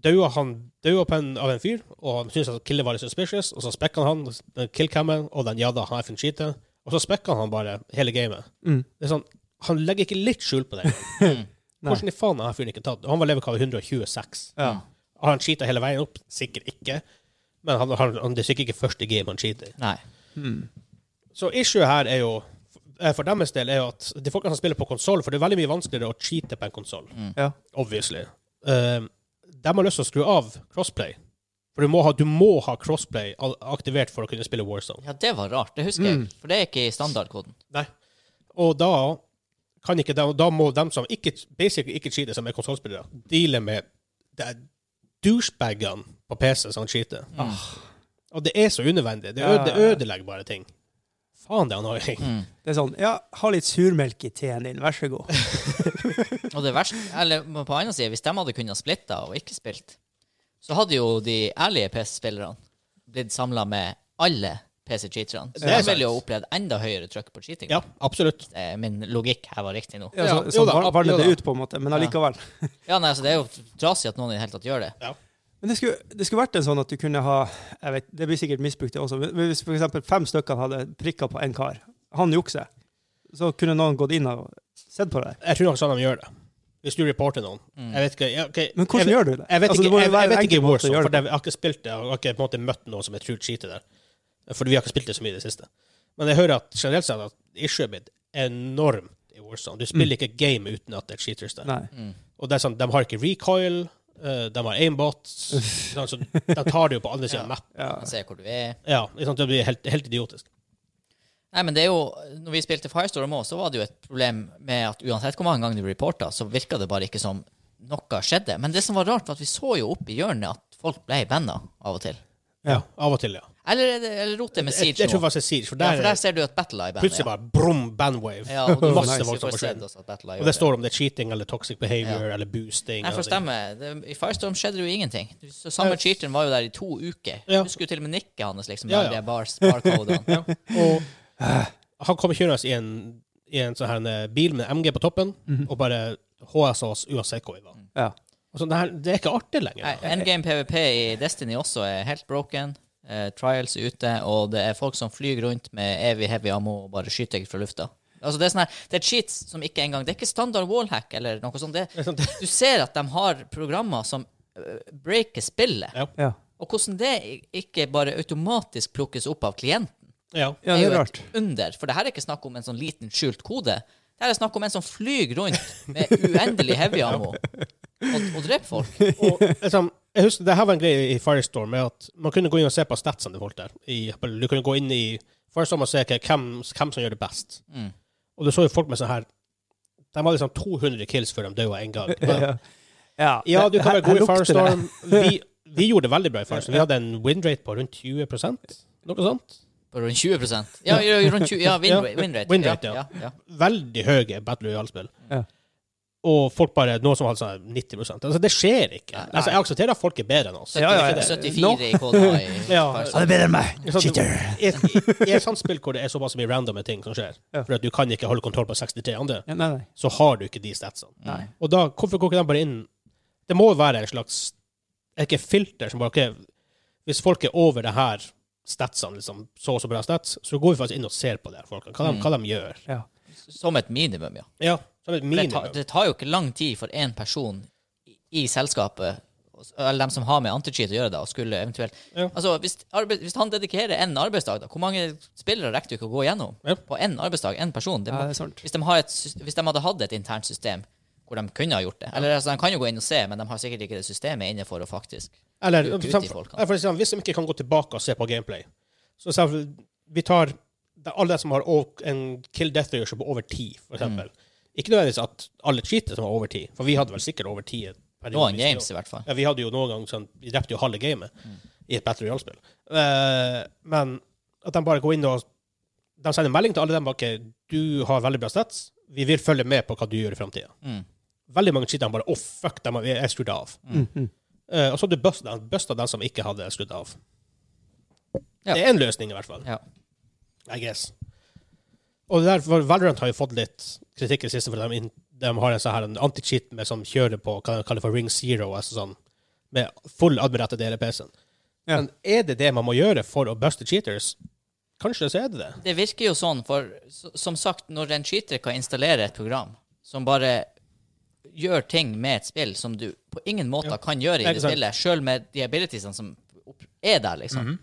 [SPEAKER 3] daua han daua på en, av en fyr, og han syntes at killet var litt suspicious, og så spekka han han killcammen, og den ja da, han er fin cheater, og så spekka han bare hele gamet.
[SPEAKER 4] Mm.
[SPEAKER 3] Det er sånn, han legger ikke litt skjul på det.
[SPEAKER 4] Nei.
[SPEAKER 3] Hvordan i faen har han fyren ikke tatt? Han var leverkave 126.
[SPEAKER 4] Ja.
[SPEAKER 3] Har han cheata hele veien opp? Sikkert ikke. Men han, han, han, det er sikkert ikke første game han cheater.
[SPEAKER 1] Nei.
[SPEAKER 3] Så issue her er jo eh, for deres del er jo at de folkene som spiller på konsoll, for det er veldig mye vanskeligere å cheate på en konsoll,
[SPEAKER 4] Ja.
[SPEAKER 3] obviously, Eh, de har lyst til å skru av crossplay. For du må ha, du må ha crossplay al- aktivert for å kunne spille Warzone.
[SPEAKER 1] Ja, det var rart. Det husker jeg.
[SPEAKER 3] Mm.
[SPEAKER 1] For det er ikke i standardkoden.
[SPEAKER 3] Nei. Og da kan ikke de, da må de som ikke, basically ikke cheater, som er konsollspillere, deale med de douchebagene på PC som cheater.
[SPEAKER 4] Ah.
[SPEAKER 3] Og det er så unødvendig. Det, øde,
[SPEAKER 4] Mm. Ja.
[SPEAKER 3] det ødelegger bare ting. Faen, det er annoying.
[SPEAKER 4] Det er sånn Ja, ha litt surmelk i teen din, vær så god.
[SPEAKER 1] Og det verste, eller på den andre siden, hvis de hadde kunnet splitte og ikke spilt, så hadde jo de ærlige PC-spillerne blitt samla med alle PC-cheaterne. Så
[SPEAKER 3] Det er
[SPEAKER 1] de ville jo
[SPEAKER 3] sant.
[SPEAKER 1] opplevd enda høyere trykk på cheating.
[SPEAKER 3] Ja, absolutt.
[SPEAKER 1] Det er eh, Min logikk her var riktig nå.
[SPEAKER 4] Ja,
[SPEAKER 3] Ja,
[SPEAKER 4] så,
[SPEAKER 3] jo
[SPEAKER 4] så
[SPEAKER 3] da,
[SPEAKER 4] Altså, sånn var-
[SPEAKER 3] ab-
[SPEAKER 4] var
[SPEAKER 3] jo
[SPEAKER 4] det
[SPEAKER 3] da.
[SPEAKER 4] det ut, på en måte. Men allikevel.
[SPEAKER 1] Ja, nei, så Det er jo trasig at noen i det hele tatt gjør det.
[SPEAKER 3] Ja.
[SPEAKER 4] Men det skulle, det skulle vært en sånn at du kunne ha jeg vet, Det blir sikkert misbrukt, det også. Men hvis for eksempel fem stykker hadde prikka på en kar, han jukser, så kunne noen gått inn og sett på det.
[SPEAKER 3] Jeg tror nok sånn de gjør det. Hvis du reporter noen.
[SPEAKER 4] Mm.
[SPEAKER 3] Jeg vet ikke, ja, ok.
[SPEAKER 4] Men hvordan
[SPEAKER 3] jeg,
[SPEAKER 4] gjør du det?
[SPEAKER 3] Jeg vet
[SPEAKER 4] Altså,
[SPEAKER 3] ikke,
[SPEAKER 4] det må jo
[SPEAKER 3] jeg,
[SPEAKER 4] være
[SPEAKER 3] jeg
[SPEAKER 4] en
[SPEAKER 3] vet ikke i
[SPEAKER 4] enkel måte å
[SPEAKER 3] Warzone,
[SPEAKER 4] gjøre
[SPEAKER 3] for
[SPEAKER 4] det
[SPEAKER 3] jeg har ikke spilt det. og Jeg har ikke på en måte møtt noen som er true cheater der. Fordi vi har ikke spilt det så mye i det siste. Men jeg hører at generelt sett at issue er blitt enormt i Warzone. Du spiller ikke game uten at det er cheaters der.
[SPEAKER 4] Mm. Nei.
[SPEAKER 3] Og det er sånn, de har ikke recoil, eh, de har aimbots, sånn, så de tar det jo på andre siden av mappen.
[SPEAKER 4] Ja.
[SPEAKER 1] Man ser hvor du er.
[SPEAKER 3] Ja, ikke sant? det blir helt, helt idiotisk.
[SPEAKER 1] Nei, men det er jo, når vi spilte Firestorm òg, så var det jo et problem med at uansett hvor mange ganger du reporta, så virka det bare ikke som noe skjedde. Men det som var rart, var at vi så jo opp i hjørnet at folk ble banna av og til.
[SPEAKER 3] Ja. Av og til, ja.
[SPEAKER 1] Eller, er det- eller rot det med
[SPEAKER 3] Jeg,
[SPEAKER 1] Siege
[SPEAKER 3] jeg tror
[SPEAKER 1] nå.
[SPEAKER 3] faktisk Siege, for
[SPEAKER 1] Ja,
[SPEAKER 3] der,
[SPEAKER 1] for der ser du at Battle Eye
[SPEAKER 3] er
[SPEAKER 1] bandet.
[SPEAKER 3] plutselig bare brum, bandwave.
[SPEAKER 1] Ja, og du
[SPEAKER 3] Masse
[SPEAKER 1] masse
[SPEAKER 3] folk som
[SPEAKER 1] får
[SPEAKER 3] forsvinner.
[SPEAKER 1] sett også at Battle Eye
[SPEAKER 3] Og det står om det er cheating eller toxic behavior eller boosting.
[SPEAKER 1] Nei, for
[SPEAKER 3] eller-
[SPEAKER 1] stemmer. Det- I Firestorm skjedde det jo ingenting. Du- Så samme cheateren var jo der i to uker.
[SPEAKER 3] Ja.
[SPEAKER 1] Du skulle jo til og med nikke hans, liksom.
[SPEAKER 3] Ja,
[SPEAKER 1] Ja,
[SPEAKER 3] ja.
[SPEAKER 1] ja. Bars, barcodene.
[SPEAKER 3] Og Eh, han kommer kjørende i en,
[SPEAKER 4] Mhm.
[SPEAKER 3] i en sånn her eh, bil med MG på toppen, og bare HS oss uansett hvor vi var.
[SPEAKER 4] Ja.
[SPEAKER 3] Altså, det, her, det er ikke artig lenger.
[SPEAKER 1] Nei, Endgame PVP i Destiny også er helt broken. Eh, trials er ute, og det er folk som flyr rundt med evig heavy ammo og bare skyter fra lufta. Altså Det er sånn her, det er cheats som ikke engang Det er ikke standard wallhack eller noe sånt.
[SPEAKER 3] Det
[SPEAKER 1] Det,
[SPEAKER 3] er sånn, sant, det-
[SPEAKER 1] du ser at de har programmer som eh, breaker spillet.
[SPEAKER 3] Ja.
[SPEAKER 4] Ja.
[SPEAKER 1] Og hvordan det i- ikke bare automatisk plukkes opp av klienten,
[SPEAKER 3] Ja.
[SPEAKER 4] ja, det
[SPEAKER 1] jo
[SPEAKER 4] er
[SPEAKER 1] et
[SPEAKER 4] rart.
[SPEAKER 1] under. For det her er ikke snakk om en sånn liten skjult kode. Det her er snakk om en som flyr rundt med uendelig heavy ammo og, og dreper folk.
[SPEAKER 3] Og, liksom, jeg husker, det her var en greie i Firestorm, med at man kunne gå inn og se på statsene til folk der. I, du kunne gå inn i Firestorm og se hva- hvem, hvem som gjør det best.
[SPEAKER 1] Mm.
[SPEAKER 3] Og du så jo folk med sånn her De hadde liksom 200 kills før de døde en gang.
[SPEAKER 4] Ja. Ja,
[SPEAKER 3] Ja, du kan
[SPEAKER 4] her-
[SPEAKER 3] være god
[SPEAKER 4] her
[SPEAKER 3] i
[SPEAKER 4] lukter det.
[SPEAKER 3] Firestorm. Vi, vi gjorde det veldig bra i Firestorm. Vi hadde en winrate på rundt 20 noe sånt.
[SPEAKER 1] På rundt 20 Ja, ja, rundt 20, ja win,
[SPEAKER 3] Ja,
[SPEAKER 1] rate- win rate.
[SPEAKER 3] win rate, ja.
[SPEAKER 1] ja. ja,
[SPEAKER 3] Veldig høye Battle Royale-spill.
[SPEAKER 4] Ja.
[SPEAKER 3] Og folk bare Noen som hadde sånn 90 Altså, det skjer ikke. Altså, jeg aksepterer at folk er bedre enn oss.
[SPEAKER 4] Ja, ja, ja.
[SPEAKER 3] Det er ikke det.
[SPEAKER 1] 74
[SPEAKER 4] Nå.
[SPEAKER 1] i KDA. i
[SPEAKER 3] Ja.
[SPEAKER 1] Firestorm.
[SPEAKER 4] Ja, det er bedre enn meg!
[SPEAKER 3] Ikke sant?
[SPEAKER 4] Cheater!
[SPEAKER 3] I et- i et sånt spill hvor det er såpass mye randomme ting som skjer,
[SPEAKER 4] Ja.
[SPEAKER 3] for at du kan ikke holde kontroll på 63 andre,
[SPEAKER 4] Ja, nei, nei.
[SPEAKER 3] så har du ikke de statsene.
[SPEAKER 4] Nei.
[SPEAKER 3] Og da, hvorfor går ikke de bare inn Det må være en slags er det ikke filter som bare ok, Hvis folk er over det her statsene, liksom, så og så bra stats, så går vi faktisk inn og ser på det her folkene, hva, de, hva de gjør.
[SPEAKER 4] Ja.
[SPEAKER 1] Som et minimum, ja.
[SPEAKER 3] Ja, som et
[SPEAKER 1] For Det, tar-
[SPEAKER 3] minimum.
[SPEAKER 1] det tar jo ikke lang tid for én person i, i selskapet, eller dem som har med anti-cheat å gjøre, da, og skulle eventuelt
[SPEAKER 3] Ja.
[SPEAKER 1] Altså, hvis, arbeid, hvis han dedikerer én arbeidsdag, da, hvor mange spillere rekker du ikke å gå gjennom
[SPEAKER 3] Ja.
[SPEAKER 1] på én arbeidsdag? Én person? Det
[SPEAKER 4] Ja,
[SPEAKER 1] må,
[SPEAKER 4] det er sant.
[SPEAKER 1] hvis, de har et, sys- hvis de hadde hatt et internt system hvor de kunne ha gjort det Eller altså, De kan jo gå inn og se, men de har sikkert ikke det systemet inne for å faktisk
[SPEAKER 3] Eller
[SPEAKER 1] ut- ut i
[SPEAKER 3] sånn-
[SPEAKER 1] folkene.
[SPEAKER 3] ja, for eksempel, hvis de ikke kan gå tilbake og se på gameplay Så selv, vi tar det er alle som har over- en kill death ratio på over 10,
[SPEAKER 1] Mm.
[SPEAKER 3] for eksempel. Ikke nødvendigvis at alle cheater som har over 10, for vi hadde vel sikkert over 10
[SPEAKER 1] Noen games, i hvert fall.
[SPEAKER 3] Ja, vi hadde jo noen gang sånn, vi drepte jo halve gamet i et Battle Royale-spill. Eh, men at de bare går inn og de sender melding til alle dem bak du har veldig bra stats, vi vil følge med på hva du gjør i framtida.
[SPEAKER 1] Mm.
[SPEAKER 3] Veldig mange cheater bare å fuck, de har, jeg er skrudd av. Eh, og så busta de busta dem som ikke hadde skrudd av.
[SPEAKER 1] Ja.
[SPEAKER 3] Det er en løsning, i hvert fall.
[SPEAKER 1] Ja.
[SPEAKER 3] I guess. Og det der, for Valorant har jo fått litt kritikk i det siste, for de, in- de har en sånn her en anti-cheat med som kjører på hva de kaller for Ring Zero, altså sånn, med full admirattet del i PC-en.
[SPEAKER 4] Ja.
[SPEAKER 3] Men er det det man må gjøre for å buste cheaters? Kanskje så er det det.
[SPEAKER 1] Det virker jo sånn, for s- som sagt, når en cheater kan installere et program som bare gjør ting med et spill som du på ingen måte kan gjøre i
[SPEAKER 3] Ikke
[SPEAKER 1] det
[SPEAKER 3] sant.
[SPEAKER 1] spillet, sjøl med de abilitiesene som opp- er der, liksom.
[SPEAKER 3] Mhm.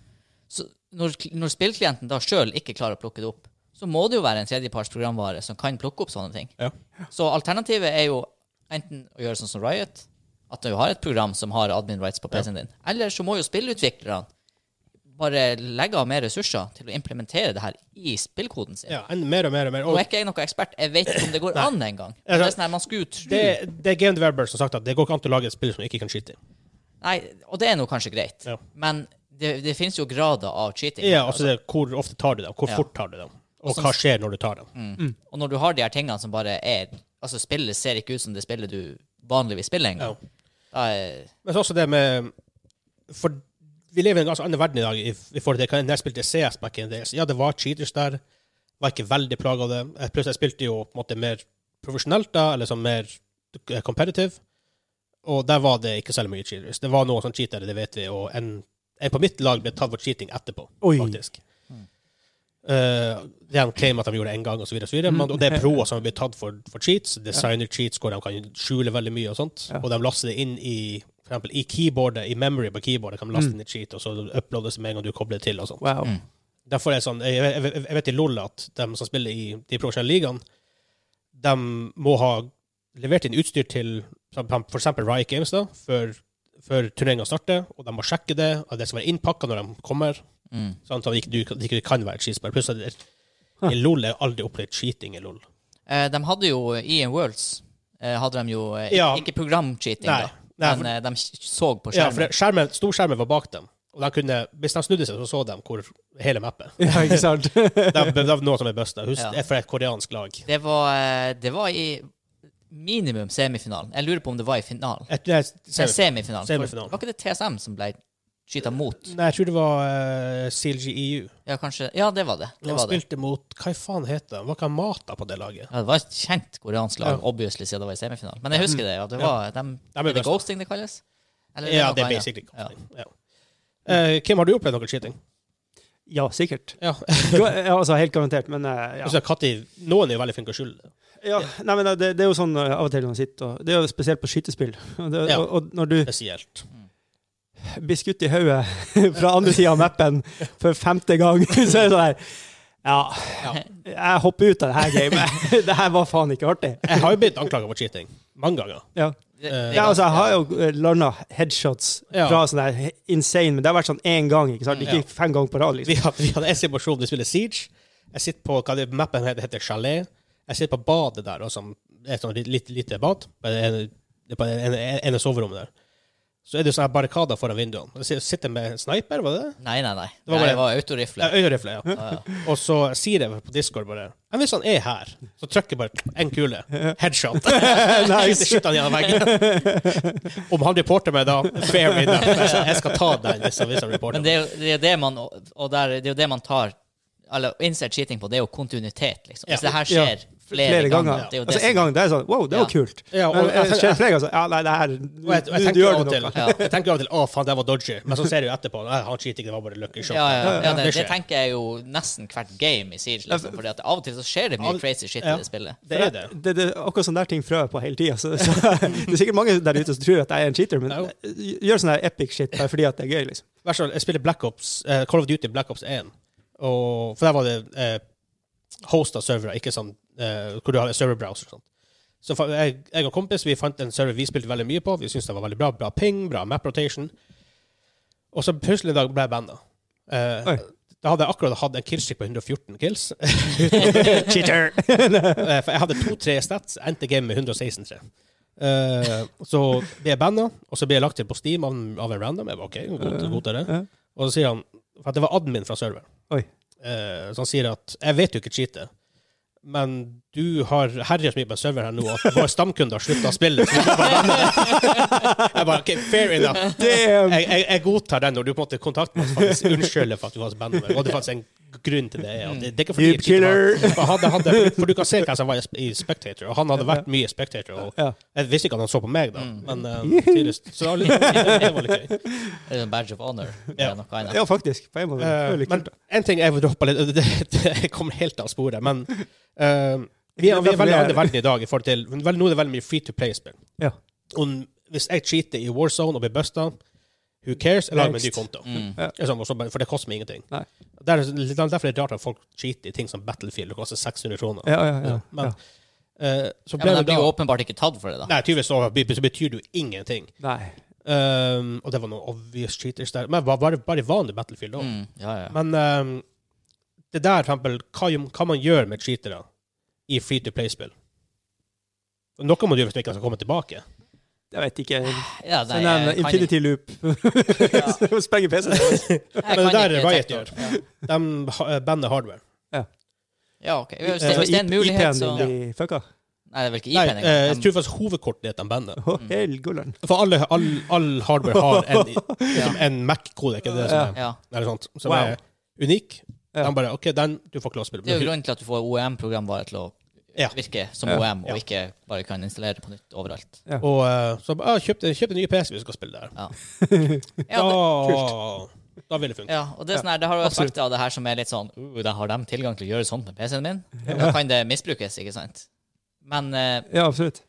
[SPEAKER 1] Så når, kl- når spillklienten da sjøl ikke klarer å plukke det opp, så må det jo være en tredjeparts programvare som kan plukke opp sånne ting.
[SPEAKER 3] Ja.
[SPEAKER 1] Så alternativet er jo enten å gjøre sånn som Riot, at du har et program som har admin rights på PC-en din, eller så må jo spillutviklerne bare legge av mer ressurser til å implementere det her i spillkoden sin.
[SPEAKER 3] Ja, en, mer og mer og mer.
[SPEAKER 1] Nå
[SPEAKER 3] Og
[SPEAKER 1] er ikke jeg noen ekspert, jeg vet ikke om det går an engang. Det er sånn her, Man skulle jo tro
[SPEAKER 3] det, det er game developers som har sagt at det går ikke an til å lage et spill som ikke kan skyte.
[SPEAKER 1] Nei, og det er nå kanskje greit,
[SPEAKER 3] Ja.
[SPEAKER 1] men det, det finnes jo grader av cheating.
[SPEAKER 3] Ja, altså det, hvor ofte tar du dem, hvor
[SPEAKER 1] Ja.
[SPEAKER 3] fort tar du dem, og hva skjer når du tar dem.
[SPEAKER 1] Og når du har de her tingene som bare er Altså, spillet ser ikke ut som det spillet du vanligvis spiller engang.
[SPEAKER 3] Ja.
[SPEAKER 1] Da er-
[SPEAKER 3] Men så også det med For vi lever i en ganske annen verden i dag i, i forhold til hva jeg spilte CS back in the days. Ja, det var cheaters der. Var ikke veldig plaga av det. Eh, Pluss jeg spilte jo på en måte mer profesjonelt da, eller sånn mer eh, competitive. Og der var det ikke særlig mye cheaters. Det var noen sånne cheatere, det vet vi, og en, en på mitt lag ble tatt for cheating etterpå,
[SPEAKER 4] Oi.
[SPEAKER 3] faktisk. Eh, de claimer at de gjorde det én gang, og så videre, og så videre. Men, og det er proer som har blitt tatt for, for cheats. Designer cheats hvor de kan skjule veldig mye og sånt.
[SPEAKER 4] Ja.
[SPEAKER 3] Og de laster det inn i for eksempel i keyboardet, i memory på keyboardet, kan de laste inn et cheat, og så uploades det med en gang du kobler det til og sånt.
[SPEAKER 4] Wow.
[SPEAKER 3] Derfor er det sånn, jeg, jeg, jeg vet i LOL at de som spiller i de profesjonelle ligaene, de må ha levert inn utstyr til for eksempel Riot Games da, før, før turneringen starter, og de må sjekke det, og det skal være innpakket når de kommer,
[SPEAKER 1] mm.
[SPEAKER 3] sånn at det ikke, du- det ikke kan være et cheatspill. Pluss at det-
[SPEAKER 4] Huh.
[SPEAKER 3] i LOL er aldri opplevd cheating i LOL.
[SPEAKER 1] Eh, De hadde jo EM Worlds eh, Hadde de jo eh,
[SPEAKER 3] Ja.
[SPEAKER 1] Ikke programcheating,
[SPEAKER 3] Nei.
[SPEAKER 1] da,
[SPEAKER 3] Nei,
[SPEAKER 1] men
[SPEAKER 3] for-
[SPEAKER 1] eh, de så på
[SPEAKER 3] Ja, for
[SPEAKER 1] skjermen.
[SPEAKER 3] det- skjermen, storskjermen var bak dem, og de kunne, hvis de snudde seg, så så de hvor hele mappet.
[SPEAKER 4] Ja, ikke sant?
[SPEAKER 3] Det er det er noe som er bøsta. Husk,
[SPEAKER 1] Ja.
[SPEAKER 3] det er fra et koreansk lag.
[SPEAKER 1] Det var, eh, det var i minimum semifinalen. Jeg lurer på om det var i finalen.
[SPEAKER 3] Et, nei,
[SPEAKER 1] Nei, semifinalen.
[SPEAKER 3] Semifinalen.
[SPEAKER 1] For Var ikke det TSM som ble Skyter mot.
[SPEAKER 3] Nei, jeg tror det var eh, CLG EU.
[SPEAKER 1] Ja, kanskje Ja, det var det.
[SPEAKER 3] De
[SPEAKER 1] Det var det.
[SPEAKER 3] spilte mot Hva i faen heter det? Var ikke han Mata på det laget?
[SPEAKER 1] Ja, det var et kjent koreansk lag,
[SPEAKER 3] Ja. Mm.
[SPEAKER 1] obviously, siden det var i semifinalen. Men jeg husker det. at det
[SPEAKER 3] Ja.
[SPEAKER 1] var, dem-
[SPEAKER 3] er
[SPEAKER 1] er det
[SPEAKER 3] best.
[SPEAKER 1] ghosting det kalles? Eller
[SPEAKER 3] Ja,
[SPEAKER 1] noe
[SPEAKER 3] det er
[SPEAKER 1] annet?
[SPEAKER 3] basically
[SPEAKER 1] Ja.
[SPEAKER 3] ghosting. Ja. Eh, Kim, har du opplevd noe cheating?
[SPEAKER 4] Ja, sikkert.
[SPEAKER 3] Ja.
[SPEAKER 4] Jo, eh, altså, helt garantert, men eh, ja.
[SPEAKER 3] Altså, Katti, noen er jo veldig flinke til å skylde.
[SPEAKER 4] ja. Nei, men det, det er jo sånn eh, av og til når man sitter og Det er jo spesielt på skytespill. Og, det,
[SPEAKER 3] Ja.
[SPEAKER 4] og, og når du
[SPEAKER 3] Spesielt.
[SPEAKER 4] blir skutt i hodet fra andre sida av mappen for femte gang, så er det sånn her Ja, jeg hopper ut av det her gamet. Det her var faen ikke artig.
[SPEAKER 3] Jeg har jo blitt anklaga for cheating. Mange ganger.
[SPEAKER 4] Ja.
[SPEAKER 1] Det- det er
[SPEAKER 4] Ja, altså, jeg har
[SPEAKER 1] ganske-
[SPEAKER 4] jo landa headshots
[SPEAKER 3] Ja.
[SPEAKER 4] fra sånn der insane, men det har vært sånn én gang, ikke sant? Ikke
[SPEAKER 3] Ja.
[SPEAKER 4] fem ganger på rad,
[SPEAKER 3] Vi
[SPEAKER 4] liksom.
[SPEAKER 3] hadde, vi hadde en situasjon vi spiller Siege. Jeg sitter på hva det mappen heter, heter Chalet. Jeg sitter på badet der, og som det er et sånn litt, litt, lite bad. På det ene- det er på det ene ene soverommet der. Så er det jo sånne barrikader foran vinduene. Og Jeg sitter med en sniper, var det det?
[SPEAKER 1] Nei, nei, nei. Nei,
[SPEAKER 3] var bare-
[SPEAKER 1] Det var autorifle.
[SPEAKER 3] Ja, Øyerifle, ja.
[SPEAKER 1] Ja, ja.
[SPEAKER 3] Og så sier jeg på Discord bare Men hvis han er her, så trykker jeg bare en kule. Headshot. Skyter skyter han gjennom veggen. Om han reporter meg da, fair enough. Jeg skal- Jeg skal ta den hvis han, hvis han reporter
[SPEAKER 1] Men
[SPEAKER 3] meg.
[SPEAKER 1] det er, jo, det er jo det man og der, det er jo det man tar Eller innser cheating på, det er jo kontinuitet, liksom. Hvis
[SPEAKER 3] Ja.
[SPEAKER 1] det her
[SPEAKER 4] Ja.
[SPEAKER 1] skjer flere,
[SPEAKER 4] Flere ganger.
[SPEAKER 1] det er jo det
[SPEAKER 4] Altså,
[SPEAKER 1] som-
[SPEAKER 4] en gang det er sånn Wow, det var
[SPEAKER 1] Ja.
[SPEAKER 4] kult.
[SPEAKER 3] Ja, og
[SPEAKER 4] Men
[SPEAKER 3] jeg
[SPEAKER 4] eh,
[SPEAKER 3] tenker-
[SPEAKER 4] skjer det flere ganger, så Ja, nei, det her
[SPEAKER 3] Og jeg, og jeg
[SPEAKER 4] Du, du
[SPEAKER 3] tenker av
[SPEAKER 4] gjør
[SPEAKER 3] og
[SPEAKER 4] det altså.
[SPEAKER 3] til
[SPEAKER 1] Ja.
[SPEAKER 4] noe.
[SPEAKER 3] Jeg tenker av og til, å faen, det var dodgy. Men så ser du jo etterpå Nei, han cheater ikke, det var bare lucky shot.
[SPEAKER 1] ja, ja, ja,
[SPEAKER 3] Ja,
[SPEAKER 1] det,
[SPEAKER 3] det
[SPEAKER 1] det
[SPEAKER 3] skjer.
[SPEAKER 1] tenker jeg jo nesten hvert game i Siege. Liksom, fordi at av og til så skjer det mye
[SPEAKER 3] Av-
[SPEAKER 1] crazy shit i
[SPEAKER 3] ja.
[SPEAKER 1] det spillet.
[SPEAKER 3] Det er det.
[SPEAKER 4] Det, det, akkurat sånne der ting frø jeg på hele tida. Så, så, det er sikkert mange der ute som tror at jeg er en cheater, men
[SPEAKER 3] Ja, jo.
[SPEAKER 4] jeg gjør sånn der epic shit bare fordi at det er gøy, liksom.
[SPEAKER 3] Vær så snill, jeg spiller Black Ops, eh, Call of Duty Black Ops 1. Og, for der var det eh, hosta servere, ikke sånn eh, hvor du har en serverbrowser. og sånt. Så fa- jeg, jeg og kompis vi fant en server vi spilte veldig mye på. Vi syntes den var veldig bra. Bra ping, bra map rotation. Og så plutselig en dag ble jeg banna. Eh,
[SPEAKER 4] Oi.
[SPEAKER 3] da hadde jeg akkurat hatt en killstreak på 114 kills.
[SPEAKER 4] Cheater!
[SPEAKER 3] Eh, For jeg hadde to-tre stats, endte game med 116-3. Eh, så ble jeg banna, og så ble jeg lagt til på Steam av, en- av en random. Jeg var OK, god, god til det.
[SPEAKER 4] Ja.
[SPEAKER 3] Og så sier han For at det var admin fra serveren.
[SPEAKER 4] Oi.
[SPEAKER 3] Eh, så han sier at Jeg vet jo ikke cheatet, men du har herjet så mye på en server her nå at våre stamkunder har slutta å spille. Så du må bare banne det. jeg bare OK, fair enough.
[SPEAKER 4] Damn!
[SPEAKER 3] Jeg, jeg, jeg godtar den når du på en måte kontakter meg og faktisk unnskylder for at du faktisk banner meg. Og det er faktisk en grunn til det. Og det, det er ikke fordi
[SPEAKER 4] Noob
[SPEAKER 3] jeg cheater,
[SPEAKER 4] killer!
[SPEAKER 3] for, han hadde, for du kan se hvem som var i sp- i Spectator, og han hadde vært mye i Spectator. Og
[SPEAKER 4] Ja.
[SPEAKER 3] jeg visste ikke at han så på meg, da. Men eh, tydeligvis. Så det var litt, det var litt gøy.
[SPEAKER 1] Det er jo en badge of honor.
[SPEAKER 3] Ja.
[SPEAKER 1] eller Noe annet.
[SPEAKER 4] Ja, faktisk. På en måte. Det er jo
[SPEAKER 3] Eh,
[SPEAKER 4] litt
[SPEAKER 3] men
[SPEAKER 4] kult.
[SPEAKER 3] en ting jeg vil droppe litt, det, det, jeg kommer helt av sporet, men eh, vi, er, vi er veldig annerledes verden i dag i forhold til vel, Nå er det veldig mye free to play-spill.
[SPEAKER 4] Ja.
[SPEAKER 3] Og hvis jeg cheater i Warzone og blir busta, who cares? Jeg lager meg en ny
[SPEAKER 4] Next.
[SPEAKER 3] konto.
[SPEAKER 1] Mm.
[SPEAKER 3] Det er sånn, og så bare- For det koster meg ingenting.
[SPEAKER 4] Nei.
[SPEAKER 3] Der, derfor er det rart at folk cheater i ting som Battlefield. Det koster 600 kroner.
[SPEAKER 4] Ja, ja, ja.
[SPEAKER 3] Ja, men-
[SPEAKER 4] ja.
[SPEAKER 3] Eh, så
[SPEAKER 1] Ja,
[SPEAKER 3] ble
[SPEAKER 1] men de
[SPEAKER 3] det
[SPEAKER 1] blir
[SPEAKER 3] da
[SPEAKER 1] jo åpenbart ikke tatt for det, da.
[SPEAKER 3] Nei, tydeligvis så, be- så betyr det jo ingenting.
[SPEAKER 4] Nei.
[SPEAKER 3] Um, og det var noe obvious cheaters der. Men bare, bare, bare vanlig Battlefield òg.
[SPEAKER 1] Mm. Ja, ja.
[SPEAKER 3] Men um, det der, for eksempel, hva, jo- hva man gjør med cheatere i free to play-spill Noe må du gjøre hvis du ikke skal komme tilbake.
[SPEAKER 4] Jeg vet
[SPEAKER 3] Ah,
[SPEAKER 4] ikke.
[SPEAKER 1] ja nei,
[SPEAKER 4] Sånn en
[SPEAKER 1] jeg kan ikke-
[SPEAKER 4] infinity loop. Sprenger PC-en.
[SPEAKER 1] jeg
[SPEAKER 3] Men det
[SPEAKER 1] kan
[SPEAKER 3] der
[SPEAKER 1] ikke
[SPEAKER 3] er Riot
[SPEAKER 1] detektor.
[SPEAKER 3] gjør.
[SPEAKER 1] Ja.
[SPEAKER 3] De ha- bander hardware.
[SPEAKER 1] Ja, ok. Hvis
[SPEAKER 3] Altså,
[SPEAKER 1] det,
[SPEAKER 4] Så
[SPEAKER 1] hvis det er en mulighet,
[SPEAKER 4] IP-en
[SPEAKER 1] så
[SPEAKER 4] din Altså, blir fucka.
[SPEAKER 1] Nei, det er vel ikke
[SPEAKER 3] Nei,
[SPEAKER 1] IP-en
[SPEAKER 3] eh, jeg
[SPEAKER 1] engang.
[SPEAKER 3] tror faktisk hovedkortet er at de bander.
[SPEAKER 4] Å, helgullen.
[SPEAKER 3] For alle, all, all hardware har en, som en Mac-kode, ikke det? Som er,
[SPEAKER 1] Ja.
[SPEAKER 3] eller sånt, som
[SPEAKER 4] Wow.
[SPEAKER 3] er unik.
[SPEAKER 4] Ja.
[SPEAKER 3] De bare OK, den du får ikke lov å spille.
[SPEAKER 1] Det er jo grunnen til at du får OEM-programvare til å
[SPEAKER 3] Ja.
[SPEAKER 1] virke som
[SPEAKER 4] Ja.
[SPEAKER 1] OEM,
[SPEAKER 3] Ja.
[SPEAKER 1] og ikke bare kan installere det på nytt overalt.
[SPEAKER 3] Og eh, så ah, kjøpte, kjøpte en ny PC hvis du skal spille der.
[SPEAKER 1] Ja, det,
[SPEAKER 3] da, da vil det funke.
[SPEAKER 1] ja og det, er sånn her, det har jo
[SPEAKER 4] absolutt.
[SPEAKER 1] aspekter av det her som er litt sånn uh, da Har de tilgang til å gjøre sånt med PC-en min? Da kan det misbrukes, ikke sant? Men, eh,
[SPEAKER 4] Ja, absolutt.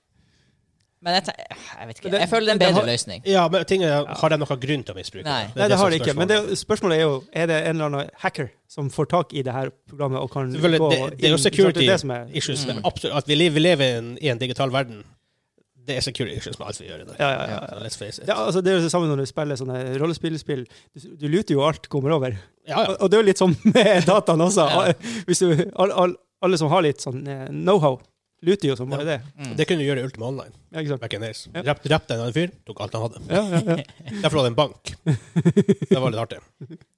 [SPEAKER 1] men jeg, ten- jeg vet ikke.
[SPEAKER 4] Men det-
[SPEAKER 1] Jeg føler det er en
[SPEAKER 4] det har-
[SPEAKER 1] bedre løsning.
[SPEAKER 3] Ja, men ting er, Har de noen grunn til å misbruke
[SPEAKER 1] Nei.
[SPEAKER 4] Nei, det har
[SPEAKER 3] som
[SPEAKER 4] det ikke. Men det, er jo- spørsmålet er jo er det en eller annen hacker som får tak i det her programmet og kan
[SPEAKER 3] Selvfølgelig,
[SPEAKER 4] gå
[SPEAKER 3] det- det er jo
[SPEAKER 4] inn-
[SPEAKER 3] security
[SPEAKER 4] Det er det som er
[SPEAKER 3] spørsmålet. issues.
[SPEAKER 1] Mm.
[SPEAKER 3] men Absolutt, at vi lever, vi lever i en, i en digital verden, det er security issues med alt vi gjør i dag.
[SPEAKER 4] Ja, ja, ja.
[SPEAKER 3] Så let's face it.
[SPEAKER 4] Det, er- altså, det er jo det samme når du spiller sånne rollespillspill. Du, du luter jo alt kommer over.
[SPEAKER 3] Ja,
[SPEAKER 4] Og,
[SPEAKER 3] ja.
[SPEAKER 4] og det er jo litt sånn med dataen også.
[SPEAKER 1] Ja.
[SPEAKER 4] Hvis du, all, all, alle som har litt sånn eh, know-how, luter jo som bare det.
[SPEAKER 1] Mm.
[SPEAKER 3] Det kunne du gjøre i Ultima Online.
[SPEAKER 4] Ja, ikke sant?
[SPEAKER 3] Back in days.
[SPEAKER 4] Ja.
[SPEAKER 3] Rep- Drepte en annen fyr, tok alt han hadde.
[SPEAKER 4] Ja, ja, ja.
[SPEAKER 3] Derfor hadde en bank. Det var litt artig.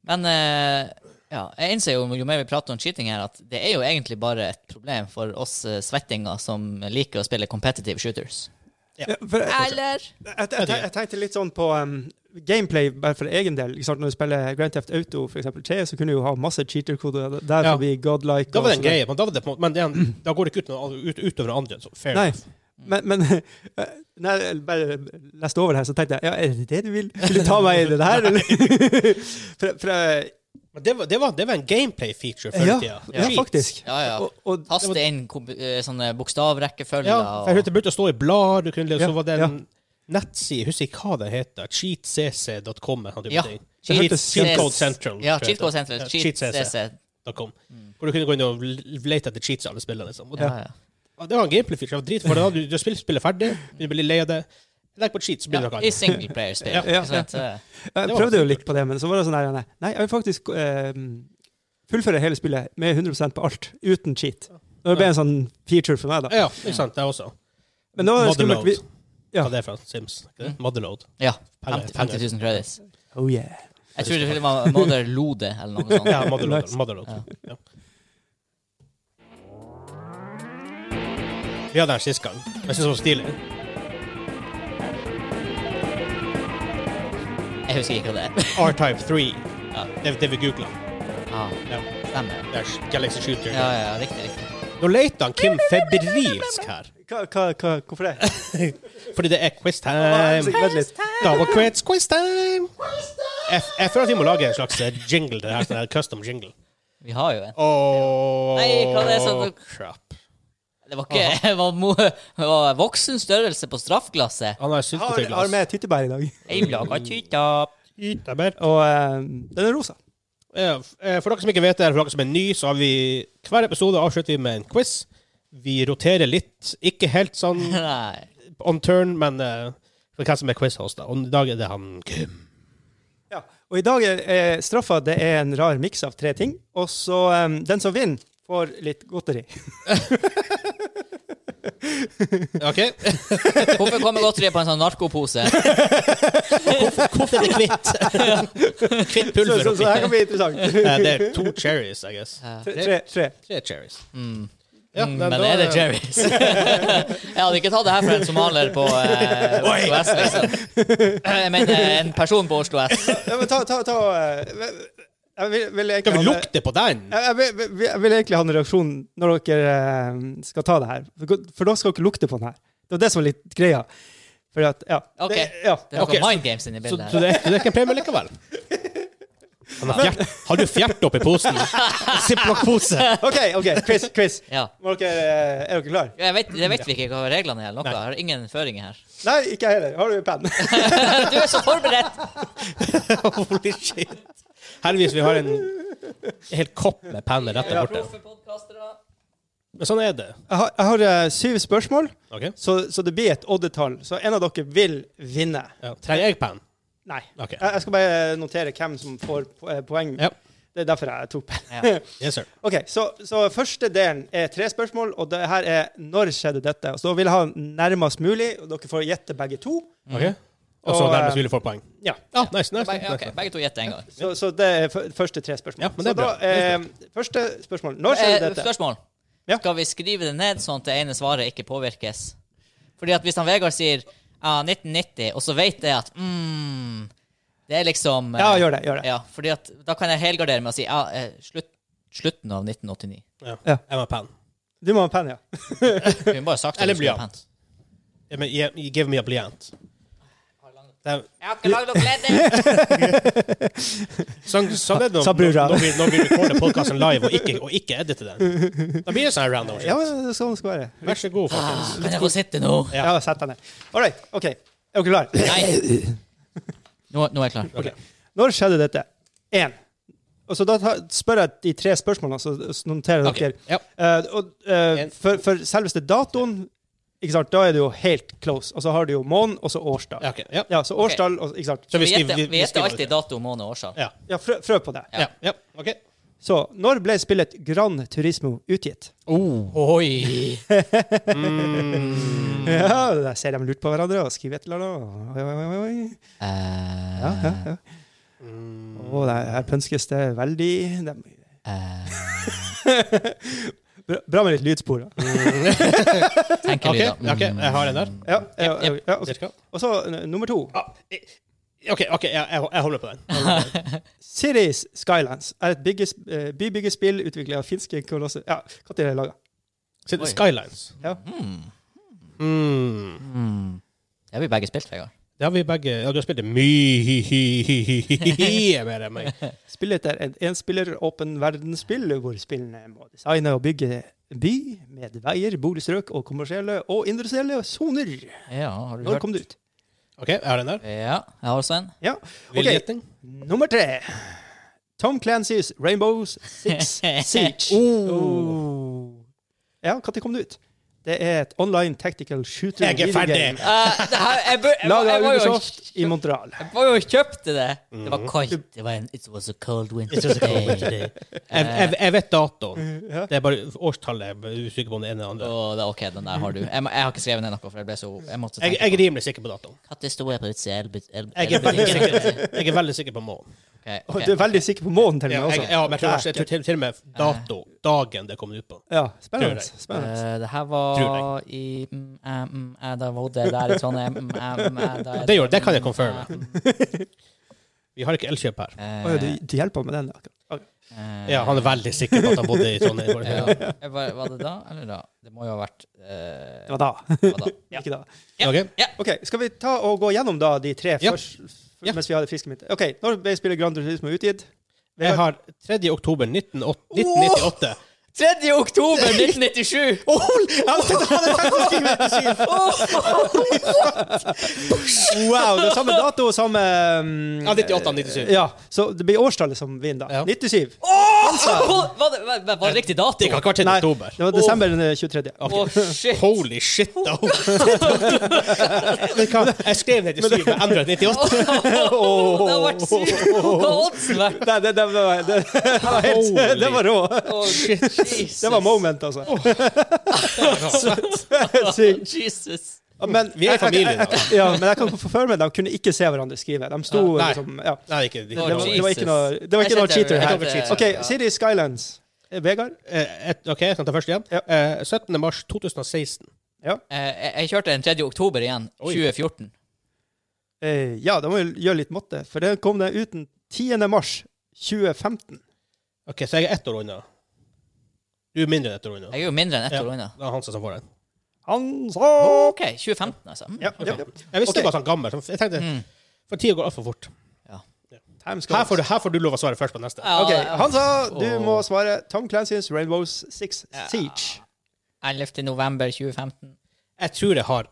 [SPEAKER 1] Men eh, ja, jeg innser jo jo mer vi prater om cheating her, at det er jo egentlig bare et problem for oss eh, svettinger som liker å spille competitive shooters.
[SPEAKER 3] Ja.
[SPEAKER 4] for jeg, altså,
[SPEAKER 1] Eller?
[SPEAKER 4] jeg, jeg, jeg tenkte litt sånn på um, gameplay bare for egen del. Ikke sant? Når du spiller Grand Theft Auto for eksempel 3, så kunne du jo ha masse cheater-koder
[SPEAKER 3] Ja.
[SPEAKER 4] der for å bli godlike.
[SPEAKER 3] Da
[SPEAKER 4] og
[SPEAKER 3] var det en
[SPEAKER 4] sånn.
[SPEAKER 3] greie, men da, var det på, en måte- men det er en, da går det ikke ut, noe, ut, utover andre. Så fair
[SPEAKER 4] Nei.
[SPEAKER 3] enough.
[SPEAKER 4] Men, men eh, når jeg bare leste over det her, så tenkte jeg ja, er det det du vil? Vil du ta meg i det her, eller? for, for, jeg-
[SPEAKER 3] Men det var, det var, det var en gameplay-feature før i
[SPEAKER 4] ja,
[SPEAKER 3] tida.
[SPEAKER 4] ja,
[SPEAKER 3] Cheat.
[SPEAKER 4] faktisk.
[SPEAKER 1] Ja, ja.
[SPEAKER 4] Og, og
[SPEAKER 1] Taste inn kom- eh, sånne bokstavrekkefølger.
[SPEAKER 3] Ja,
[SPEAKER 1] og-
[SPEAKER 3] for jeg hørte det begynte å stå i blad, du kunne,
[SPEAKER 4] Ja,
[SPEAKER 3] så var det en
[SPEAKER 4] ja.
[SPEAKER 3] nettside, jeg husker ikke hva det heter, cheatcc.com eller noe type
[SPEAKER 1] Ja.
[SPEAKER 3] ting.
[SPEAKER 1] Cheat-
[SPEAKER 3] Cheat-
[SPEAKER 4] hørtes-
[SPEAKER 3] Cheatcode Central.
[SPEAKER 1] Ja,
[SPEAKER 3] tror jeg det
[SPEAKER 1] Cheatcode
[SPEAKER 3] heter.
[SPEAKER 1] Central.
[SPEAKER 3] Ja,
[SPEAKER 1] Cheat
[SPEAKER 3] cheatcc.com.
[SPEAKER 1] CC.
[SPEAKER 3] Hvor du kunne gå inn og l- lete etter cheats i alle spillene. Liksom. Og
[SPEAKER 1] Ja, ja.
[SPEAKER 3] det- Det var en gameplay-feature, det var drit, for da hadde du, du har spilt spillet ferdig, du blir litt lei av det, legg på cheats, så blir det noe
[SPEAKER 1] Ja, I
[SPEAKER 3] annet.
[SPEAKER 1] singleplayerspill.
[SPEAKER 3] Ja.
[SPEAKER 1] ikke sant?
[SPEAKER 4] Jeg
[SPEAKER 3] var
[SPEAKER 4] prøvde jo
[SPEAKER 3] supert.
[SPEAKER 4] litt på det, men så var det sånn her Nei, nei, jeg vil faktisk eh, fullføre hele spillet med 100 på alt, uten cheat. Det ble en sånn feature for meg, da.
[SPEAKER 3] Ja, ikke sant, det er også.
[SPEAKER 4] Men nå er det skummelt.
[SPEAKER 3] Motherload.
[SPEAKER 4] Vi, ja.
[SPEAKER 3] Ja. det er fra Sims. ikke det? Motherload.
[SPEAKER 1] Ja.
[SPEAKER 3] Pelle-
[SPEAKER 1] 50 50 000 credits.
[SPEAKER 4] oh yeah.
[SPEAKER 1] Jeg tror det var Mother Lode eller noe sånt.
[SPEAKER 3] Ja, Motherload.
[SPEAKER 4] Nice.
[SPEAKER 3] Motherload.
[SPEAKER 1] Ja.
[SPEAKER 3] Ja. Vi hadde den sist gang. Jeg syns det var stilig.
[SPEAKER 1] Jeg husker ikke hva det er.
[SPEAKER 3] R-Type 3.
[SPEAKER 1] Ja.
[SPEAKER 3] Det, det vi googla.
[SPEAKER 1] Ah,
[SPEAKER 3] Ja.
[SPEAKER 1] stemmer.
[SPEAKER 3] Det er Galaxy Shooter.
[SPEAKER 1] Ja, ja, riktig, riktig.
[SPEAKER 3] Nå leter han Kim febrilsk her,
[SPEAKER 4] Hva, hva, hva, hvorfor det?
[SPEAKER 3] fordi det er quiz
[SPEAKER 4] Vent
[SPEAKER 3] time.
[SPEAKER 4] litt.
[SPEAKER 3] Da var quiz, quiz time! Jeg, jeg føler at vi må lage en slags eh, jingle til det her. Sånn her custom jingle.
[SPEAKER 1] Vi har jo en.
[SPEAKER 3] Åh,
[SPEAKER 1] Nei, hva det er sånn-
[SPEAKER 3] crap.
[SPEAKER 1] Det var ikke det var, mo, det var voksen størrelse på straffglasset.
[SPEAKER 3] Han har
[SPEAKER 4] Jeg har, har
[SPEAKER 3] syltetøyglass.
[SPEAKER 4] med tyttebær i dag.
[SPEAKER 1] Jeg laga tyta.
[SPEAKER 3] Ytabert.
[SPEAKER 4] Og eh, den er rosa.
[SPEAKER 3] Eh, f- eh, For dere som ikke vet det, eller for dere som er ny, så har vi hver episode avslutter vi med en quiz. Vi roterer litt. Ikke helt sånn
[SPEAKER 1] Nei.
[SPEAKER 3] on turn, men eh, for hvem som er quiz-host, da. Og i dag er det han Kim.
[SPEAKER 4] Ja. Og i dag er, er straffa det er en rar miks av tre ting. Og så eh, den som vinner, får litt godteri.
[SPEAKER 3] OK?
[SPEAKER 1] Hvorfor kommer godteriet på en sånn narkopose?
[SPEAKER 3] Hvorfor er det kvitt? kvitt
[SPEAKER 4] Så,
[SPEAKER 3] pulver
[SPEAKER 4] så, så
[SPEAKER 3] oppi.
[SPEAKER 4] her kan bli interessant.
[SPEAKER 3] Eh, Det er to cherries, I guess.
[SPEAKER 1] Ja.
[SPEAKER 4] Tre, tre, tre.
[SPEAKER 3] Tre cherries.
[SPEAKER 1] Mm.
[SPEAKER 3] Ja,
[SPEAKER 1] mm,
[SPEAKER 3] men
[SPEAKER 1] men
[SPEAKER 3] da- eh,
[SPEAKER 1] er det Jerrys? jeg hadde ikke tatt det her for en somalier på eh, Oslo S, liksom. Jeg mener en person på Oslo S.
[SPEAKER 4] Ja, men ta, ta, ta eh, jeg vil, vil egentlig
[SPEAKER 3] Skal vi
[SPEAKER 4] ha det-
[SPEAKER 3] lukte på den?
[SPEAKER 4] Jeg, jeg, vil- vil- jeg vil egentlig ha en reaksjon når dere eh, skal ta det her. For, for da skal dere lukte på den her. Det var det som var litt greia. Fordi at, ja.
[SPEAKER 1] Ok.
[SPEAKER 4] Det, ja.
[SPEAKER 1] Det er noe
[SPEAKER 3] Ok, så-
[SPEAKER 1] mind games inni
[SPEAKER 3] Så,
[SPEAKER 1] bildet
[SPEAKER 3] så
[SPEAKER 1] her.
[SPEAKER 3] det, så det er ikke en premie likevel? Han har, fjert, har du fjert oppi posen? Ziploc-pose.
[SPEAKER 4] OK, ok, quiz. quiz.
[SPEAKER 1] Ja.
[SPEAKER 4] Må dere, eh, er dere klare?
[SPEAKER 1] Jeg vet, jeg vet vi ikke hva reglene er eller noe.
[SPEAKER 3] Nei.
[SPEAKER 1] Jeg har ingen føringer her.
[SPEAKER 4] Nei, ikke jeg heller. Har du penn?
[SPEAKER 1] Du er så forberedt!
[SPEAKER 3] Holy shit. Heldigvis vi har en hel kopp med penner rett der borte. Men sånn er det.
[SPEAKER 4] Jeg har, jeg har eh, syv spørsmål,
[SPEAKER 3] Ok?
[SPEAKER 4] så, så det blir et oddetall. Så en av dere vil vinne.
[SPEAKER 3] Ja. Trenger jeg penn?
[SPEAKER 4] Nei.
[SPEAKER 3] Ok.
[SPEAKER 4] Jeg, jeg skal bare notere hvem som får po- eh, poeng.
[SPEAKER 3] Ja.
[SPEAKER 4] Det er derfor jeg tok penn.
[SPEAKER 3] Yes, sir.
[SPEAKER 4] Ok, så, så første delen er tre spørsmål, og det her er når skjedde dette? Så vil jeg ha nærmest mulig, og dere får gjette begge to.
[SPEAKER 3] Ok? Og så
[SPEAKER 4] Og, eh,
[SPEAKER 3] dermed vil du få poeng.
[SPEAKER 4] Ja.
[SPEAKER 3] Ja, nice, nice,
[SPEAKER 1] Be-
[SPEAKER 3] nice,
[SPEAKER 1] ok,
[SPEAKER 3] nice.
[SPEAKER 1] Begge to gjetter en gang.
[SPEAKER 4] Så, så det er f- første tre spørsmål.
[SPEAKER 3] Ja, men det er
[SPEAKER 4] så
[SPEAKER 3] bra. Det
[SPEAKER 4] da,
[SPEAKER 3] er
[SPEAKER 4] eh, første spørsmål. Når skjedde
[SPEAKER 1] Eh,
[SPEAKER 4] dette?
[SPEAKER 1] spørsmål.
[SPEAKER 4] Ja.
[SPEAKER 1] Skal vi skrive det ned sånn at det ene svaret ikke påvirkes? Fordi at hvis han Vegard sier ja, 1990, og så vet jeg at mm, Det er liksom eh,
[SPEAKER 4] Ja, gjør det, gjør det.
[SPEAKER 1] Ja, fordi at da kan jeg helgardere med å si ja, eh, slutt, slutten av 1989.
[SPEAKER 3] Ja.
[SPEAKER 4] Ja.
[SPEAKER 3] Jeg må ha penn.
[SPEAKER 4] Du må ha en penn, ja.
[SPEAKER 1] Du kunne bare sagt at
[SPEAKER 3] Eller
[SPEAKER 1] du skulle ha
[SPEAKER 3] blyant. Ja, men gi- gi- Give me a blyant. Det er-
[SPEAKER 1] Jeg har ikke lagd noe kledning!
[SPEAKER 3] Sånn, sånn er det når,
[SPEAKER 4] Sa brura.
[SPEAKER 3] når, når, vi, når vi recorder podcasten live og ikke, og ikke editer den. Da blir det sånn her random shit.
[SPEAKER 4] Ja, men det er sånn det skal være.
[SPEAKER 3] Vær så god, folkens.
[SPEAKER 1] Kan jeg få sitte nå?
[SPEAKER 3] Ja.
[SPEAKER 4] Ja, sett deg ned. All right, ok. Er dere klare?
[SPEAKER 1] Nei. Nå, nå er jeg klar.
[SPEAKER 3] Ok.
[SPEAKER 4] Når skjedde dette? Én. Og så da tar- spør jeg de tre spørsmålene, så så noterer dere.
[SPEAKER 3] Ok, Ja.
[SPEAKER 4] Eh, og, eh,
[SPEAKER 3] En-
[SPEAKER 4] for, for selveste datoen, ikke sant, da er det jo helt close. Og så har du jo måneden, og så årsdag.
[SPEAKER 3] Ja, ok, ja.
[SPEAKER 4] Ja, så årstall, og, ikke sant.
[SPEAKER 3] Så
[SPEAKER 1] Vi
[SPEAKER 3] skriver-
[SPEAKER 1] gjetter, vi gjetter
[SPEAKER 3] skriver
[SPEAKER 1] alltid
[SPEAKER 3] det.
[SPEAKER 1] dato, måned og årsak.
[SPEAKER 3] Ja.
[SPEAKER 4] Ja, frø, frø på det.
[SPEAKER 3] Ja. ja. OK.
[SPEAKER 4] Så når ble spillet Gran Turismo utgitt?
[SPEAKER 3] Oh.
[SPEAKER 1] Oi!
[SPEAKER 3] Mm.
[SPEAKER 4] Ja, der ser de lurt på hverandre og skriver et eller annet. Oi, oi, oi, oi. Mm.
[SPEAKER 1] Eh,
[SPEAKER 4] Ja, ja, ja. Og det her pønskes det veldig. De...
[SPEAKER 1] eh,
[SPEAKER 4] Bra, bra med litt
[SPEAKER 3] Mm.
[SPEAKER 4] lydspor. da.
[SPEAKER 1] Tenker
[SPEAKER 3] OK,
[SPEAKER 1] okay. da. Mm.
[SPEAKER 3] ok, jeg har en der.
[SPEAKER 4] Ja, ja, ja, ja, og så-
[SPEAKER 3] Cirka.
[SPEAKER 4] og så eh, nummer to.
[SPEAKER 3] Ah, i- OK, ok, jeg, jeg, jeg holder på den.
[SPEAKER 4] Cities Skylands er et bygges- eh, bybyggespill utviklet av finske kolosser Ja, hva er det laget?
[SPEAKER 3] Så det er
[SPEAKER 1] Oi.
[SPEAKER 3] Skylines.
[SPEAKER 1] Mm.
[SPEAKER 3] Mm.
[SPEAKER 1] Mm. Det har vi begge spilt, Vegard.
[SPEAKER 3] Det har vi begge Ja, du har spilt det mye mer enn meg.
[SPEAKER 4] Spillet er et enspiller åpen verdensspill hvor spillene må designe og bygge by med veier, boligstrøk og kommersielle og industrielle soner.
[SPEAKER 1] Ja, har du
[SPEAKER 4] Når
[SPEAKER 1] hørt?
[SPEAKER 4] kom det ut?
[SPEAKER 3] OK, jeg har den der.
[SPEAKER 1] Ja, jeg har også en.
[SPEAKER 4] Ja.
[SPEAKER 3] Vill
[SPEAKER 4] Ok.
[SPEAKER 3] gjetning.
[SPEAKER 4] Nummer tre. Tom Clancy's Rainbows Six Siege. Oh. Ja, når kom det ut? Det er et online tactical shooter.
[SPEAKER 3] Jeg er ferdig!
[SPEAKER 4] videogame
[SPEAKER 1] Eh, det her, jeg, bør, jeg,
[SPEAKER 4] Laget
[SPEAKER 1] jeg,
[SPEAKER 4] av
[SPEAKER 1] var jo,
[SPEAKER 4] Ubisoft i Montreal.
[SPEAKER 1] jeg var jo og kjøpte det.
[SPEAKER 2] Det var kaldt. Det var en, it was a cold winter day.
[SPEAKER 3] Jeg, jeg, jeg vet datoen.
[SPEAKER 4] Ja.
[SPEAKER 3] Det er bare årstallet jeg er usikker på om det ene eller andre.
[SPEAKER 1] Å, det er OK, den der har du. Jeg, må- jeg har ikke skrevet ned noe, for jeg ble så Jeg måtte
[SPEAKER 3] Jeg,
[SPEAKER 1] tenke
[SPEAKER 3] jeg er rimelig sikker på datoen.
[SPEAKER 2] Når sto jeg på utsida av Elbe- Elbe-
[SPEAKER 3] Jeg er veldig
[SPEAKER 2] Elbebutikken?
[SPEAKER 3] sikker, jeg er veldig sikker på månen.
[SPEAKER 1] Ok,
[SPEAKER 4] Og
[SPEAKER 1] ok.
[SPEAKER 4] Du er veldig sikker på månen til
[SPEAKER 3] Ja,
[SPEAKER 4] og med
[SPEAKER 3] jeg,
[SPEAKER 4] også.
[SPEAKER 3] ja, men jeg tror, jeg tror til, til og med dato, dagen det kom ut på.
[SPEAKER 4] Ja,
[SPEAKER 3] Tror
[SPEAKER 4] spennende.
[SPEAKER 3] jeg.
[SPEAKER 4] spennende.
[SPEAKER 1] Eh, det her
[SPEAKER 3] Tror
[SPEAKER 1] var i mm, eh, mm, eh, Da bodde jeg der i Trondheim. Mm, eh, mm, eh, da jeg-
[SPEAKER 3] Det gjorde- det kan jeg
[SPEAKER 1] Mm, eh,
[SPEAKER 3] confirme.
[SPEAKER 1] mm.
[SPEAKER 3] Vi har ikke Elkjøp her.
[SPEAKER 1] Eh,
[SPEAKER 4] Å ja, du, du hjelper med den. akkurat.
[SPEAKER 1] eh,
[SPEAKER 3] Ja, han er veldig sikker på at han bodde i Trondheim.
[SPEAKER 1] ja. Jeg bare, var det da, eller da? Det må jo ha vært eh,
[SPEAKER 4] Det var da.
[SPEAKER 1] det var da.
[SPEAKER 4] Ikke da.
[SPEAKER 3] Ok.
[SPEAKER 4] Ok, Skal vi ta og gå gjennom da de tre
[SPEAKER 3] Ja.
[SPEAKER 4] først, f-
[SPEAKER 3] Ja.
[SPEAKER 4] mens vi har det friske mitt? Ok, Når ble spillet Grand Turismo utgitt?
[SPEAKER 3] Jeg har 3. oktober 1908 1998.
[SPEAKER 1] 3. oktober 1997!
[SPEAKER 4] Oh, jeg hadde tenkt å ha det tenkt å skrive det til syv. Wow, det er samme dato og samme um,
[SPEAKER 3] Ja, 98, 97.
[SPEAKER 4] Ja, Så det blir årstallet som vinner,
[SPEAKER 3] Ja.
[SPEAKER 4] da. 97.
[SPEAKER 1] Var det, var, var det riktig dato?
[SPEAKER 3] Det kan ikke ha vært
[SPEAKER 4] Nei,
[SPEAKER 3] 3. oktober.
[SPEAKER 4] det var desember den 23.
[SPEAKER 1] Å, shit.
[SPEAKER 3] Holy shit, da! Men hva? Jeg skrev 97, men endret 98.
[SPEAKER 1] Det har vært sykt! Hva har oddsen vært?
[SPEAKER 4] Nei, det, det, var- det, det, var helt, det var rå.
[SPEAKER 1] Å, Jesus.
[SPEAKER 4] Det var moment, altså. Sykt.
[SPEAKER 1] Jesus.
[SPEAKER 4] Men,
[SPEAKER 3] Vi er i familie nå.
[SPEAKER 4] ja, men jeg kan forføre meg, de kunne ikke se hverandre skrive. De sto
[SPEAKER 3] Nei.
[SPEAKER 4] liksom ja.
[SPEAKER 3] Nei, ikke, ikke,
[SPEAKER 4] det, var, det var
[SPEAKER 1] Jesus.
[SPEAKER 4] ikke noe, det var
[SPEAKER 1] Jeg
[SPEAKER 4] ikke noe
[SPEAKER 1] skjønte
[SPEAKER 4] cheater
[SPEAKER 1] det. Jeg
[SPEAKER 4] her.
[SPEAKER 1] tok et cheater.
[SPEAKER 4] OK, City Skylands. Eh, Vegard?
[SPEAKER 3] Eh, et, OK, jeg skal ta først igjen.
[SPEAKER 4] Ja.
[SPEAKER 3] Eh, 17. mars 2016.
[SPEAKER 1] Eh, jeg, jeg kjørte den 3. oktober igjen,
[SPEAKER 3] Oi.
[SPEAKER 1] 2014.
[SPEAKER 4] Eh, ja, da må vi gjøre litt matte, for det kom det ut den 10. mars 2015.
[SPEAKER 3] OK, så jeg er ett år unna. Du er mindre enn ett år unna.
[SPEAKER 1] Jeg er jo mindre enn ett
[SPEAKER 3] Ja.
[SPEAKER 1] år unna.
[SPEAKER 3] Det er Hansa som får den.
[SPEAKER 4] Han sa
[SPEAKER 1] OK, 2015, altså. Mm.
[SPEAKER 4] ja, ja, ja.
[SPEAKER 3] Jeg visste
[SPEAKER 4] Ok.
[SPEAKER 3] det var sånn gammel. så Jeg tenkte,
[SPEAKER 1] Mm.
[SPEAKER 3] for tida går altfor fort.
[SPEAKER 4] Times
[SPEAKER 3] Her får,
[SPEAKER 4] goes.
[SPEAKER 3] du, her får du lov å svare først på neste.
[SPEAKER 1] Ja,
[SPEAKER 4] OK,
[SPEAKER 1] ja.
[SPEAKER 4] han sa du
[SPEAKER 1] Åh.
[SPEAKER 4] må svare Tom Clancy's Rainbows Six
[SPEAKER 1] Ja.
[SPEAKER 4] Siege.
[SPEAKER 1] 11. november 2015.
[SPEAKER 3] Jeg tror jeg har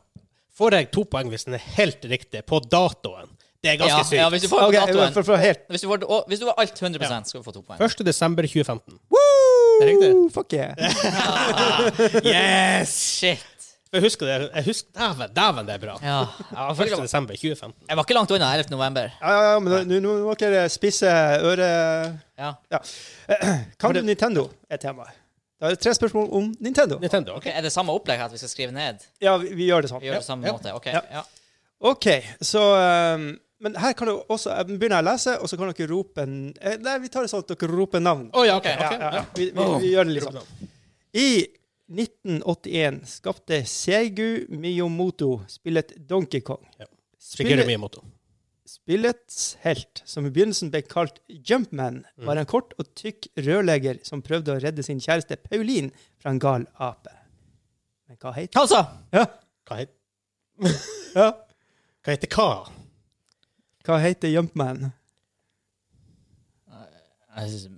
[SPEAKER 3] Får jeg to poeng hvis den er helt riktig på datoen? Det er ganske
[SPEAKER 1] Ja, ja, hvis
[SPEAKER 3] sykt.
[SPEAKER 1] du får
[SPEAKER 4] Ok,
[SPEAKER 1] datoen
[SPEAKER 4] for, for helt
[SPEAKER 1] Hvis du får, å, hvis du får alt 100 skal du få to poeng.
[SPEAKER 3] 1. desember 2015.
[SPEAKER 4] Woo!
[SPEAKER 3] Er det riktig?
[SPEAKER 4] Fuck yeah.
[SPEAKER 3] Yes!
[SPEAKER 1] Shit.
[SPEAKER 3] Jeg husker det. Jeg husker, dæven, dæven, det er bra.
[SPEAKER 1] Ja.
[SPEAKER 3] Ja, 1. desember 2015.
[SPEAKER 1] Jeg var ikke langt unna 11. november.
[SPEAKER 4] Ja, ja, ja, men nå- nå nå må dere spisse øre...
[SPEAKER 1] Ja.
[SPEAKER 4] Ja. Kan du Nintendo er temaet. Da er det tre spørsmål om Nintendo.
[SPEAKER 3] Nintendo, OK.
[SPEAKER 1] Ok, er det samme opplegg her at vi skal skrive ned?
[SPEAKER 4] Ja, vi, vi gjør det sånn.
[SPEAKER 1] Vi gjør det på samme
[SPEAKER 3] Ja.
[SPEAKER 1] måte? Ok.
[SPEAKER 4] Ja.
[SPEAKER 1] Ja.
[SPEAKER 4] OK, så um, Men her kan du også jeg begynner jeg å lese, og så kan dere rope en eh, Nei, vi tar det sånn at dere roper navn.
[SPEAKER 3] Å ja, OK.
[SPEAKER 4] Ja,
[SPEAKER 3] ok.
[SPEAKER 4] ja, ja. Vi, vi, vi gjør det litt sånn. I 1981 skapte Seigu Miyamoto spillet Donkey Kong.
[SPEAKER 3] Ja. Shigeru
[SPEAKER 4] Spillet,
[SPEAKER 3] Miyamoto.
[SPEAKER 4] spillets helt, som i begynnelsen ble kalt Jumpman, var en kort og tykk rørlegger som prøvde å redde sin kjæreste Pauline fra en gal ape. Men hva het
[SPEAKER 1] Altså!
[SPEAKER 4] Ja.
[SPEAKER 3] Hva het-
[SPEAKER 4] ja.
[SPEAKER 3] hva heter hva?
[SPEAKER 4] Hva heter Jumpman?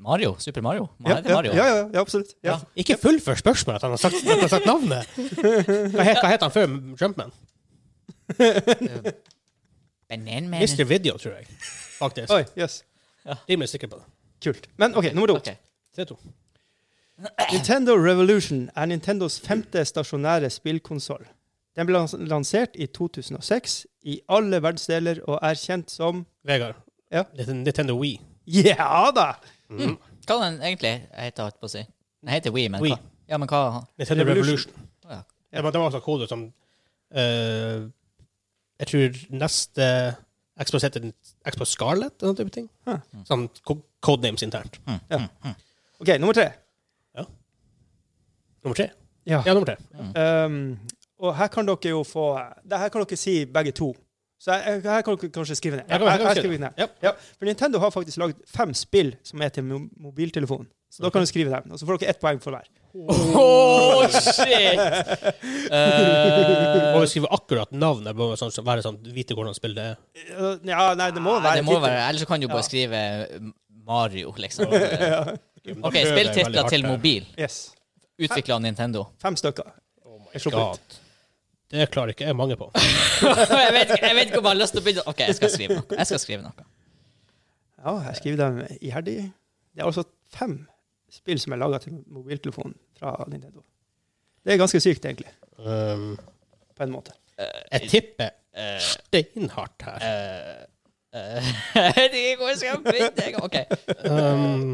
[SPEAKER 1] Mario? Super Mario? Man heter Mario.
[SPEAKER 4] ja, ja, ja, absolutt. Ja.
[SPEAKER 1] Ja.
[SPEAKER 3] Ikke fullfør spørsmålet at han har sagt, at han har sagt navnet! Hva het, hva het han før Jumpman?
[SPEAKER 1] Bananman.
[SPEAKER 3] Mr. Video, tror jeg. Faktisk.
[SPEAKER 4] Oi, yes.
[SPEAKER 3] Rimelig sikker på det.
[SPEAKER 4] Kult. Men OK, nummer to.
[SPEAKER 1] Ok.
[SPEAKER 3] 3-2.
[SPEAKER 4] Nintendo Revolution er Nintendos femte stasjonære spillkonsoll. Den ble lans- lansert i 2006 i alle verdensdeler og er kjent som
[SPEAKER 3] Vegard.
[SPEAKER 4] Ja.
[SPEAKER 3] Niten- Nintendo Wii.
[SPEAKER 4] Ja da!
[SPEAKER 1] Hva den egentlig heter, holdt på å si? Den heter Wii, men
[SPEAKER 3] Wii.
[SPEAKER 1] hva? Ja, men hva?
[SPEAKER 3] Nintendo
[SPEAKER 4] Revolution.
[SPEAKER 3] Revolution.
[SPEAKER 1] Å, ja.
[SPEAKER 3] Ja, men det var også kode som eh, Jeg tror neste Xbox heter den- Xbox Scarlet, eller noen type ting.
[SPEAKER 4] Huh.
[SPEAKER 3] Sånn co- codenames internt.
[SPEAKER 4] OK, nummer tre.
[SPEAKER 3] Ja. Nummer tre?
[SPEAKER 4] Ja.
[SPEAKER 3] Ja, nummer tre.
[SPEAKER 4] Um, og her kan dere jo få det Her kan dere si begge to. Så jeg, jeg, her kan dere kanskje skrive ned.
[SPEAKER 3] Jeg kan- jeg kan
[SPEAKER 4] skriver
[SPEAKER 3] skrive
[SPEAKER 4] ned.
[SPEAKER 3] Ja.
[SPEAKER 4] Ja, for Nintendo har faktisk lagd fem spill som er til mo- mobiltelefon. Så da kan du skrive dem. Og så får dere ett poeng for hver.
[SPEAKER 1] Oh, shit! Eh,
[SPEAKER 3] Og vi skriver akkurat navnet, bare sånn, så være sånn, vite hvordan spillet er.
[SPEAKER 4] Eh, Ja, nei, det må
[SPEAKER 1] nei,
[SPEAKER 4] være
[SPEAKER 1] det må
[SPEAKER 4] tittel.
[SPEAKER 1] være, Ellers så kan du bare
[SPEAKER 4] Ja.
[SPEAKER 1] skrive eh, Mario, liksom. OK, spilltitler til mobil.
[SPEAKER 4] Yes.
[SPEAKER 1] Utvikla av Nintendo.
[SPEAKER 4] Fem stykker. Jeg slår på
[SPEAKER 3] God. Det klarer ikke jeg mange på.
[SPEAKER 1] jeg, vet, ikke- jeg vet ikke om jeg har lyst til å begynne. OK, jeg skal skrive noe. Jeg skal skrive noe.
[SPEAKER 4] Ja, jeg skriver dem iherdig. Det er altså fem spill som er laga til mobiltelefon fra Nintendo. Det er ganske sykt, egentlig.
[SPEAKER 3] Um,
[SPEAKER 4] På en måte.
[SPEAKER 3] jeg tipper steinhardt her.
[SPEAKER 1] Eh, jeg vet ikke hvor jeg skal begynne. engang. OK.
[SPEAKER 3] Um,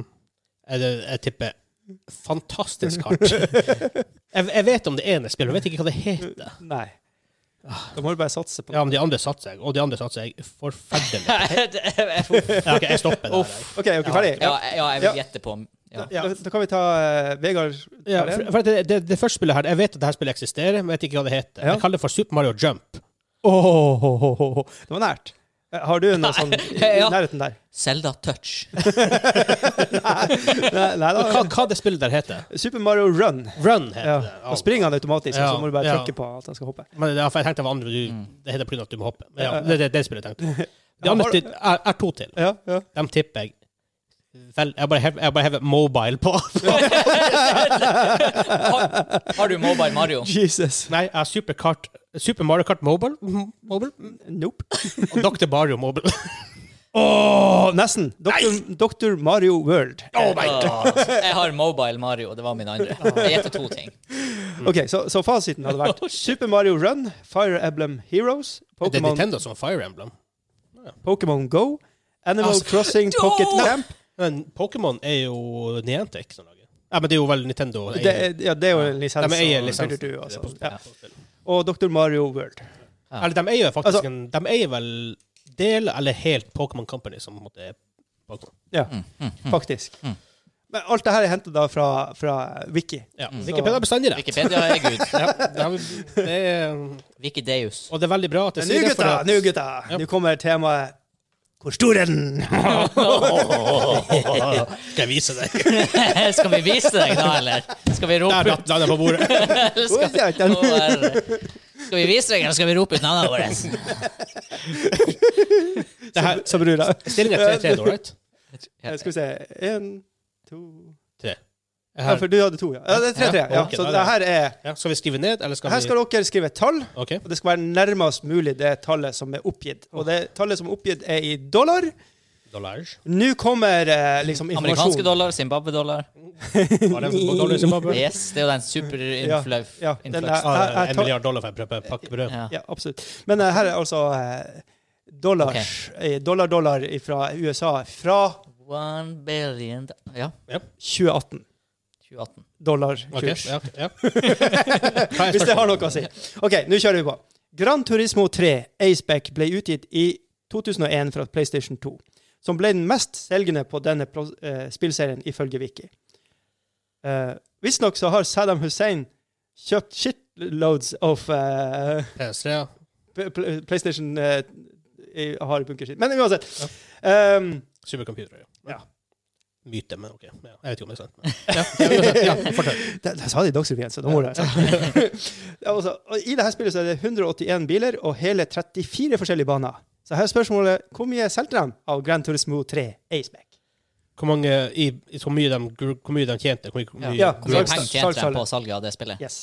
[SPEAKER 3] jeg, jeg tipper fantastisk hardt. Jeg, jeg vet om det ene spillet, men jeg vet ikke hva det heter.
[SPEAKER 4] Nei. Da må du bare satse på
[SPEAKER 3] Ja, men de andre satser jeg, og de andre satser jeg forferdelig.
[SPEAKER 1] ja,
[SPEAKER 3] Ja, ok, jeg stopper der. jeg.
[SPEAKER 4] OK, er dere ferdige?
[SPEAKER 1] ja, jeg vil gjette på ja.
[SPEAKER 4] Da, da kan vi ta eh, Vegard.
[SPEAKER 3] Ja, for, for det, det, det første spillet her, Jeg vet at dette spillet eksisterer, men jeg vet ikke hva det heter.
[SPEAKER 4] Ja.
[SPEAKER 3] Jeg kaller det for Super Mario Jump.
[SPEAKER 4] Åh, åh, åh, åh, åh. Det var nært. Eh, Har du noe sånn i i
[SPEAKER 1] Ja.
[SPEAKER 4] nærheten der?
[SPEAKER 1] Zelda Touch.
[SPEAKER 4] Nei, nei
[SPEAKER 3] Hva,
[SPEAKER 4] da.
[SPEAKER 3] hva det spillet der heter?
[SPEAKER 4] Super Mario Run.
[SPEAKER 3] Run heter
[SPEAKER 4] Ah, Ja.
[SPEAKER 3] det. Ja.
[SPEAKER 4] Da springer han automatisk, og
[SPEAKER 3] Ja,
[SPEAKER 4] så må du bare
[SPEAKER 3] ja.
[SPEAKER 4] trykke på at han skal hoppe.
[SPEAKER 3] Men det, er- for jeg tenkte det var andre du, Det heter pga. at du må hoppe. Men ja,
[SPEAKER 4] Ja, ja.
[SPEAKER 3] det er det, det spillet jeg tenkte. De
[SPEAKER 4] Ja,
[SPEAKER 3] andre
[SPEAKER 4] har-
[SPEAKER 3] til- er, er to til.
[SPEAKER 4] Ja, ja.
[SPEAKER 3] Dem tipper jeg Vel, jeg bare hev- jeg bare hever mobile på.
[SPEAKER 1] Har, har du Mobile Mario?
[SPEAKER 4] Jesus.
[SPEAKER 3] Nei, jeg har Super, Kart, Super Mario Kart Mobile, mobile
[SPEAKER 4] Nope.
[SPEAKER 3] og Dr. Mario Mobile.
[SPEAKER 4] Åh, nesten. Dr. Dr. Mario World.
[SPEAKER 3] Oh my god!
[SPEAKER 1] Åh, jeg har Mobile Mario, det var min andre. Jeg gjetter to ting.
[SPEAKER 4] OK, så, så fasiten hadde vært Super Mario Run, Fire Emblem Heroes,
[SPEAKER 3] Det er
[SPEAKER 4] Pokémon
[SPEAKER 3] Nintendo som har Fire Emblem.
[SPEAKER 4] Pokémon Go, Animal Crossing Pocket
[SPEAKER 1] Åh!
[SPEAKER 4] Camp
[SPEAKER 3] Men Pokémon er jo Niantic som lager. Ja, men det er jo vel Nintendo.
[SPEAKER 4] det, er- ja, det er jo en lisens.
[SPEAKER 3] De eier
[SPEAKER 4] og-
[SPEAKER 3] lisensen.
[SPEAKER 4] du, altså.
[SPEAKER 3] Det er på-
[SPEAKER 4] ja. Og Dr. Mario World.
[SPEAKER 1] Ja.
[SPEAKER 3] Eller de eier jo faktisk
[SPEAKER 4] Altså-
[SPEAKER 3] en De eier vel del eller helt Pokémon Company, som på en måte er Pokémon.
[SPEAKER 4] Ja,
[SPEAKER 3] mm,
[SPEAKER 4] faktisk. Men alt det her er henta da fra, fra Wiki.
[SPEAKER 3] Ja. Wikipedia er bestandig rett.
[SPEAKER 1] Wikipedia er gud.
[SPEAKER 3] Ja, det er- det er-
[SPEAKER 1] Wikideus.
[SPEAKER 3] og det er veldig bra at jeg
[SPEAKER 4] Men
[SPEAKER 3] sier
[SPEAKER 4] Nå,
[SPEAKER 3] det. For
[SPEAKER 4] gutta!
[SPEAKER 3] at,
[SPEAKER 4] Nå, gutta!
[SPEAKER 3] Ja.
[SPEAKER 4] Nå kommer temaet Hvor stor er den?
[SPEAKER 3] skal jeg vise deg?
[SPEAKER 1] Skal vi vise deg nå, eller? Skal vi rope
[SPEAKER 3] Der
[SPEAKER 1] ut?
[SPEAKER 3] datt den på bordet.
[SPEAKER 1] eller
[SPEAKER 4] Hvor
[SPEAKER 1] Skal,
[SPEAKER 4] er den?
[SPEAKER 1] Å, herre. skal vi vise deg, eller skal vi rope ut navnet vårt?
[SPEAKER 3] Det her,
[SPEAKER 4] Så bror, da.
[SPEAKER 3] stillingen er 3-3 nå, right?
[SPEAKER 4] Eh, Skal vi se Én, to
[SPEAKER 3] Tre.
[SPEAKER 4] Ja,
[SPEAKER 3] Her.
[SPEAKER 4] for du hadde to, ja. ja det er tre-tre.
[SPEAKER 3] Ja,
[SPEAKER 4] Ja.
[SPEAKER 3] ok,
[SPEAKER 4] Så
[SPEAKER 3] da er
[SPEAKER 4] det her er
[SPEAKER 3] Ja, skal vi skrive ned, eller skal vi
[SPEAKER 4] Her skal dere skrive et tall,
[SPEAKER 3] OK.
[SPEAKER 4] og det skal være nærmest mulig det tallet som er oppgitt. Og det tallet som er oppgitt, er i dollar.
[SPEAKER 3] Dollars.
[SPEAKER 4] Nå kommer eh, liksom
[SPEAKER 1] Amerikanske
[SPEAKER 4] informasjon.
[SPEAKER 1] dollar, Zimbabwe-dollar.
[SPEAKER 3] Var det en dollar i Zimbabwe?
[SPEAKER 1] Yes, det er jo den
[SPEAKER 4] Ja, ja, den
[SPEAKER 1] superinflux.
[SPEAKER 4] er-
[SPEAKER 3] Ah,
[SPEAKER 4] Jeg
[SPEAKER 3] en
[SPEAKER 4] tar-
[SPEAKER 3] milliard dollar for en pakke brød.
[SPEAKER 1] Ja.
[SPEAKER 4] Ja, absolutt. Men eh, her er altså eh, dollars, eh, dollar, dollar fra USA fra
[SPEAKER 1] One billion do- Ja,
[SPEAKER 4] 2018.
[SPEAKER 1] 2018.
[SPEAKER 4] Dollar
[SPEAKER 3] Ok,
[SPEAKER 4] kurs.
[SPEAKER 3] ja, ja. Hva er
[SPEAKER 4] Hvis det har
[SPEAKER 3] spørsmålet?
[SPEAKER 4] noe å si. OK, nå kjører vi på. Gran Turismo 3 Aceback ble utgitt i 2001 fra PlayStation 2, som ble den mest selgende på denne pro- eh, spillserien, ifølge Wiki. Uh, Visstnok så har Saddam Hussein kjøpt shitloads of eh,
[SPEAKER 3] PS3, ja.
[SPEAKER 4] P- P- PlayStation eh, i- har bunker sitt. Men uansett. Ehm,
[SPEAKER 3] Supercomputere, ja.
[SPEAKER 4] Ja.
[SPEAKER 3] Myte, men OK. Ja, jeg vet ikke om det er sant. men- Ja, ja, uansett, ja, fortell.
[SPEAKER 4] det, det sa de i Dagsrevyen, så da må det være sant. Ja, altså, og I dette spillet så er det 181 biler og hele 34 forskjellige baner. Så her er spørsmålet hvor mye solgte de av Grand Turismo 3 Aceback?
[SPEAKER 3] Hvor mange i, i hvor, mye de, gr- hvor mye de tjente? Hvor mye, hvor mye,
[SPEAKER 4] Ja.
[SPEAKER 1] Hvor mye
[SPEAKER 4] Salgs-
[SPEAKER 1] penger tjente de
[SPEAKER 4] salgsalder.
[SPEAKER 1] på salget av det spillet?
[SPEAKER 4] Yes.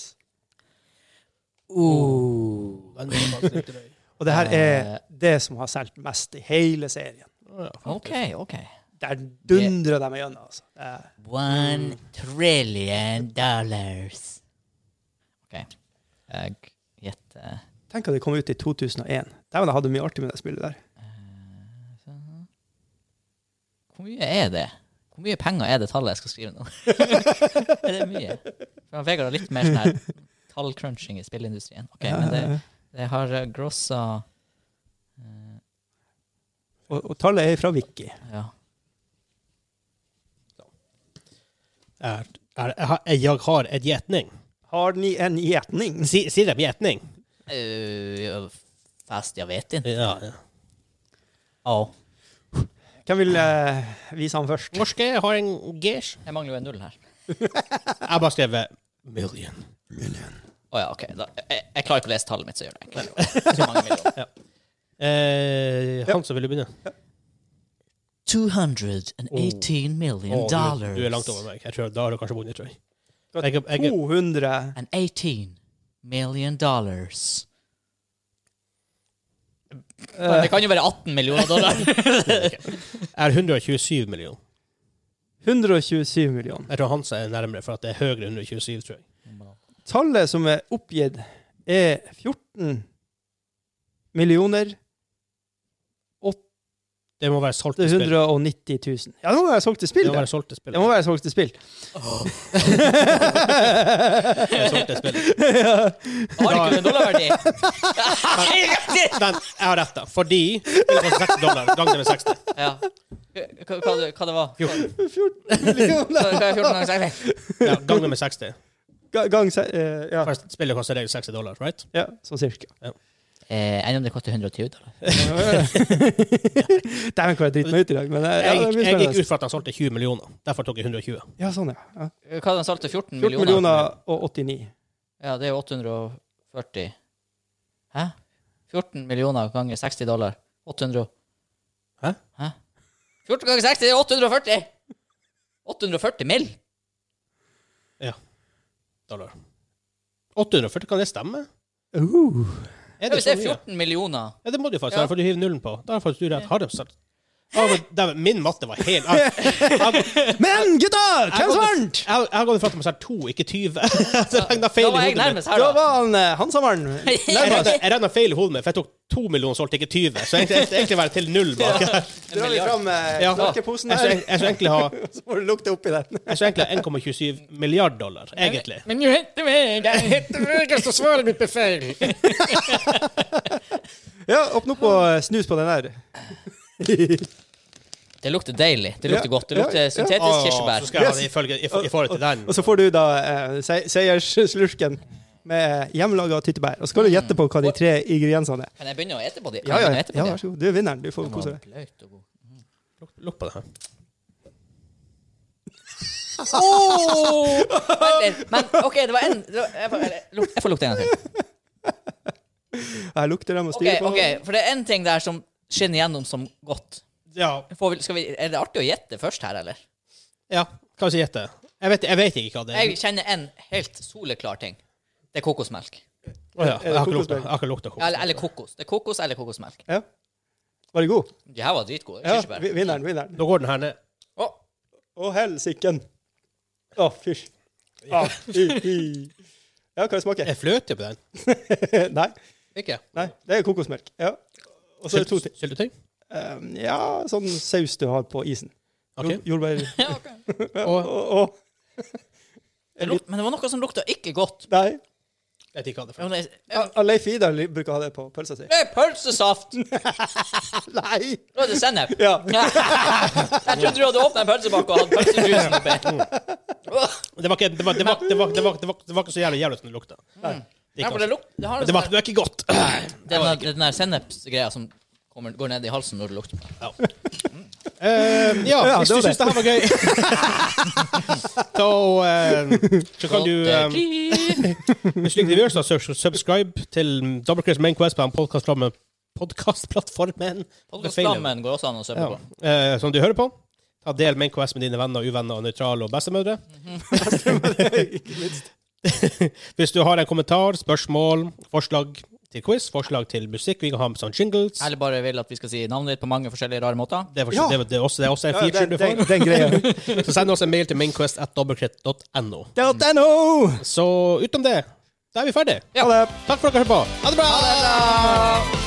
[SPEAKER 1] Uh.
[SPEAKER 3] Ja.
[SPEAKER 4] Og det her
[SPEAKER 1] Eh.
[SPEAKER 4] er det som har solgt mest i hele serien.
[SPEAKER 1] OK, OK.
[SPEAKER 4] Der dundrer de igjennom, altså. Det er-
[SPEAKER 1] One trillion dollars. OK. Jeg gjetter
[SPEAKER 4] Tenk at det kom ut i 2001. Dæven, jeg hadde mye artig med det spillet der.
[SPEAKER 1] Hvor mye er det? Hvor mye penger er det tallet jeg skal skrive nå? er det mye? For Vegard har litt mer sånn her tallcrunching i spillindustrien. Ok, men det, det har eh, grossa eh,
[SPEAKER 4] Og, og tallet er fra Wiki.
[SPEAKER 1] Ja.
[SPEAKER 3] Jeg Er- Jeg har, jeg har en gjetning.
[SPEAKER 4] Har ni en gjetning?
[SPEAKER 3] Si- Sier de gjetning?
[SPEAKER 1] Eh, fast jeg vet ikke.
[SPEAKER 3] Ja, ja.
[SPEAKER 1] Ja.
[SPEAKER 4] Hvem vil eh, vise han først?
[SPEAKER 3] Norske har en gers.
[SPEAKER 1] Jeg mangler jo en null her.
[SPEAKER 3] Jeg har bare skrevet million.
[SPEAKER 1] Å ja, OK. Da, jeg, jeg klarer ikke å lese tallet mitt, så jeg gjør det enkelt. Så mange millioner.
[SPEAKER 3] Eh, han som ville begynne.
[SPEAKER 2] 218 million
[SPEAKER 3] Å, du,
[SPEAKER 2] dollars.
[SPEAKER 3] du er langt over meg. Jeg tror, da har du kanskje vunnet, tror jeg.
[SPEAKER 4] Du har
[SPEAKER 3] Jeg, jeg, jeg,
[SPEAKER 4] 200
[SPEAKER 2] And 18 million dollars.
[SPEAKER 1] Men det kan jo være 18 millioner dollar.
[SPEAKER 3] er 127 millioner.
[SPEAKER 4] Eh, 127 millioner.
[SPEAKER 3] Jeg tror Hans er nærmere, for at det er høyere enn 127, tror jeg.
[SPEAKER 4] Tallet som er oppgitt, er 14 millioner
[SPEAKER 3] Det må være solgte spill.
[SPEAKER 4] 890 000. Ja, det må være solgt til
[SPEAKER 3] Det
[SPEAKER 4] spill.
[SPEAKER 3] må
[SPEAKER 4] Det,
[SPEAKER 3] være solgte spill.
[SPEAKER 4] det må være solgt til spill.
[SPEAKER 3] Det er solgte spill.
[SPEAKER 1] Har ikke en dollarverdi.
[SPEAKER 3] Den, jeg har rett, da. Fordi det koster 60 dollar. Gangen er 60.
[SPEAKER 1] Ja. Hva, hva, hva det var
[SPEAKER 3] 14.
[SPEAKER 4] 14 millioner
[SPEAKER 1] Hva er 14 ganger 60?
[SPEAKER 3] Ja, gangen med 60.
[SPEAKER 4] Ga- gang se- eh, ja.
[SPEAKER 3] Først, Spillet koster deg 60 dollar, right?
[SPEAKER 4] ja, sånn cirka.
[SPEAKER 1] Eh, Enn om det koster 120 dollar?
[SPEAKER 4] Dæven, hvor jeg driter meg ut i dag. Men eh, ja,
[SPEAKER 3] Jeg,
[SPEAKER 4] det blir
[SPEAKER 3] jeg gikk
[SPEAKER 4] spennende.
[SPEAKER 3] ut fra at han solgte 20 millioner. Derfor tok jeg 120.
[SPEAKER 4] Ja, sånn, ja. ja.
[SPEAKER 1] Hva den solgte 14
[SPEAKER 4] 14
[SPEAKER 1] millioner?
[SPEAKER 4] millioner og 89.
[SPEAKER 1] Ja, det er jo 840 Hæ? 14 millioner ganger 60 dollar. 800
[SPEAKER 3] Hæ?
[SPEAKER 1] Hæ? 14 ganger 60 er 840! 840 mill.
[SPEAKER 3] Dollar. 840, kan det stemme? Er
[SPEAKER 4] Uh.
[SPEAKER 1] Ja,
[SPEAKER 3] det
[SPEAKER 1] Hvis
[SPEAKER 3] så
[SPEAKER 1] det er
[SPEAKER 3] mye?
[SPEAKER 1] 14 millioner
[SPEAKER 3] Ja, det må du faktisk.
[SPEAKER 1] Ja.
[SPEAKER 3] Derfor du hiver nullen på. Da har faktisk du rett. Har de solgt? Ja, men, dæven, min matte var helt Jeg, jeg,
[SPEAKER 4] Men gutta,
[SPEAKER 3] Jeg
[SPEAKER 4] hvem som
[SPEAKER 3] går-
[SPEAKER 4] vant?
[SPEAKER 3] jeg, jeg har gått ifra at de har solgt to, ikke 20. Jeg regna
[SPEAKER 1] Da
[SPEAKER 3] feil
[SPEAKER 1] var jeg
[SPEAKER 3] i hodet mitt.
[SPEAKER 1] nærmest her,
[SPEAKER 4] Da
[SPEAKER 1] da.
[SPEAKER 4] var han eh, Hansammeren.
[SPEAKER 3] Jeg regnet- Jeg regna feil i hodet mitt, for jeg tok to millioner solgt, ikke 20. Så egentlig, egentlig- egentlig var jeg til null bak.
[SPEAKER 4] Drar vi fram eh,
[SPEAKER 3] Ja.
[SPEAKER 4] knarkeposen
[SPEAKER 3] Jeg skulle jeg
[SPEAKER 4] her,
[SPEAKER 3] skulle egentlig ha
[SPEAKER 4] så får du lukte oppi den.
[SPEAKER 3] Jeg skulle egentlig ha 1,27 milliard dollar, egentlig.
[SPEAKER 1] Men du henter meg! Jeg henter meg, så svaret mitt blir feil.
[SPEAKER 4] Ja, åpne opp og eh, snus på den der.
[SPEAKER 1] Det lukter deilig. Det lukter
[SPEAKER 4] Ja,
[SPEAKER 1] godt. Det
[SPEAKER 4] ja,
[SPEAKER 1] lukter
[SPEAKER 4] ja.
[SPEAKER 1] syntetisk
[SPEAKER 3] Å,
[SPEAKER 1] kirsebær.
[SPEAKER 3] Så skal jeg ha det ifølge, i, i forhold til den.
[SPEAKER 4] Og så får du da eh, se- seiersslurken med hjemmelaga tyttebær. Og så skal du gjette på hva de tre ingrediensene er.
[SPEAKER 1] Kan jeg begynne å ete på det?
[SPEAKER 4] Ja, ja, ja,
[SPEAKER 1] Ete på
[SPEAKER 4] vær
[SPEAKER 1] det?
[SPEAKER 4] så god. Du er vinneren. Du får
[SPEAKER 1] Den var
[SPEAKER 4] kose deg.
[SPEAKER 1] bløt og god.
[SPEAKER 3] Lukk- Lukk på det her.
[SPEAKER 1] Vent litt. Men OK, det var en det var- Jeg får- eller, luk- jeg får lukte en gang til.
[SPEAKER 4] Jeg lukter dem og
[SPEAKER 1] Ok,
[SPEAKER 4] styrer på.
[SPEAKER 1] ok, for det er en ting der som skinner gjennom som godt.
[SPEAKER 3] Ja.
[SPEAKER 1] Får vi, skal vi, er det artig å gjette først her, eller?
[SPEAKER 3] ja. Hva skal jeg gjette? Jeg vet, jeg vet ikke hva det er.
[SPEAKER 1] Jeg kjenner en helt soleklar ting. Det er kokosmelk.
[SPEAKER 3] Å ja, jeg har ikke lukta-
[SPEAKER 4] kokosmelk?
[SPEAKER 3] jeg har ikke lukta kokos.
[SPEAKER 1] Eller, eller kokos. Det er kokos eller kokosmelk.
[SPEAKER 4] Ja. Var det god?
[SPEAKER 1] De her var dritgode.
[SPEAKER 4] Ja,
[SPEAKER 1] Kirsebær.
[SPEAKER 4] vi- vinneren, vinneren.
[SPEAKER 3] Da går den her ned.
[SPEAKER 1] Å,
[SPEAKER 4] Å, helsiken. Å, fysj. Å, fy, fy. Ja, hva det smaker
[SPEAKER 3] Er fløte på den?
[SPEAKER 4] Nei,
[SPEAKER 3] Ikke?
[SPEAKER 4] nei, det er kokosmelk. Ja. Og så er det to ting.
[SPEAKER 3] Sylt- Syltetøy?
[SPEAKER 4] Um, ja, sånn saus du har på isen.
[SPEAKER 3] Ok.
[SPEAKER 4] Jord- Jordbær
[SPEAKER 1] ja, ok.
[SPEAKER 4] og, og
[SPEAKER 1] Det luk, men det var noe som lukta ikke godt.
[SPEAKER 4] Nei.
[SPEAKER 3] Jeg vet ikke hva det er. for.
[SPEAKER 1] Ja, men det-
[SPEAKER 4] Ah, ah, Leif Idar li- bruker å ha det på pølsa si.
[SPEAKER 1] Det er pølsesaft!
[SPEAKER 4] Nei!
[SPEAKER 1] Nå er det sennep.
[SPEAKER 4] Ja.
[SPEAKER 1] Jeg trodde du hadde åpna en pølsepakke og hatt pølsejuicen oppi. Åh,
[SPEAKER 3] Det var ikke, det var, det var, det var, det var, det var, det var ikke så jævlig jævlig som det lukta. Det,
[SPEAKER 1] ja, for det,
[SPEAKER 3] gikk
[SPEAKER 1] luk, det, har
[SPEAKER 3] altså.
[SPEAKER 1] en
[SPEAKER 3] det, var,
[SPEAKER 1] sånn-
[SPEAKER 3] det var ikke godt.
[SPEAKER 1] det er den der- den der sennepsgreia som kommer, går ned i halsen når du lukter på det.
[SPEAKER 3] Ja. Eh, ja,
[SPEAKER 4] Ja,
[SPEAKER 3] hvis du
[SPEAKER 4] det var det.
[SPEAKER 3] syns det her var gøy, så, eh, så kan du eh, Hvis du liker det vi gjør, så så subscribe til Double Chris Main Quest på den podcastplattformen- podcastplattformen
[SPEAKER 1] Stammen går også an å søpe
[SPEAKER 3] ja.
[SPEAKER 1] på.
[SPEAKER 3] eh, som du hører på. Ta del Main Quest med dine venner, uvenner, og nøytrale og bestemødre. Hvis du har en kommentar, spørsmål, forslag til quiz, forslag til musikk vi kan ha med sånn jingles
[SPEAKER 1] Eller bare vil at vi skal si navnet ditt på mange forskjellige rare måter.
[SPEAKER 3] det er, for,
[SPEAKER 4] Ja.
[SPEAKER 3] det, er- det, er også, det er også en
[SPEAKER 4] Ja,
[SPEAKER 3] feature
[SPEAKER 4] den,
[SPEAKER 3] du
[SPEAKER 4] den,
[SPEAKER 3] får.
[SPEAKER 4] den greia.
[SPEAKER 3] Så send oss en mail til mainquest.dobbeltkritt.no.
[SPEAKER 4] Dot .no!
[SPEAKER 3] Så utenom det, da er vi ferdige.
[SPEAKER 4] Ha det.
[SPEAKER 3] Takk for at dere hørte på. Ha det bra!
[SPEAKER 1] Ha det bra!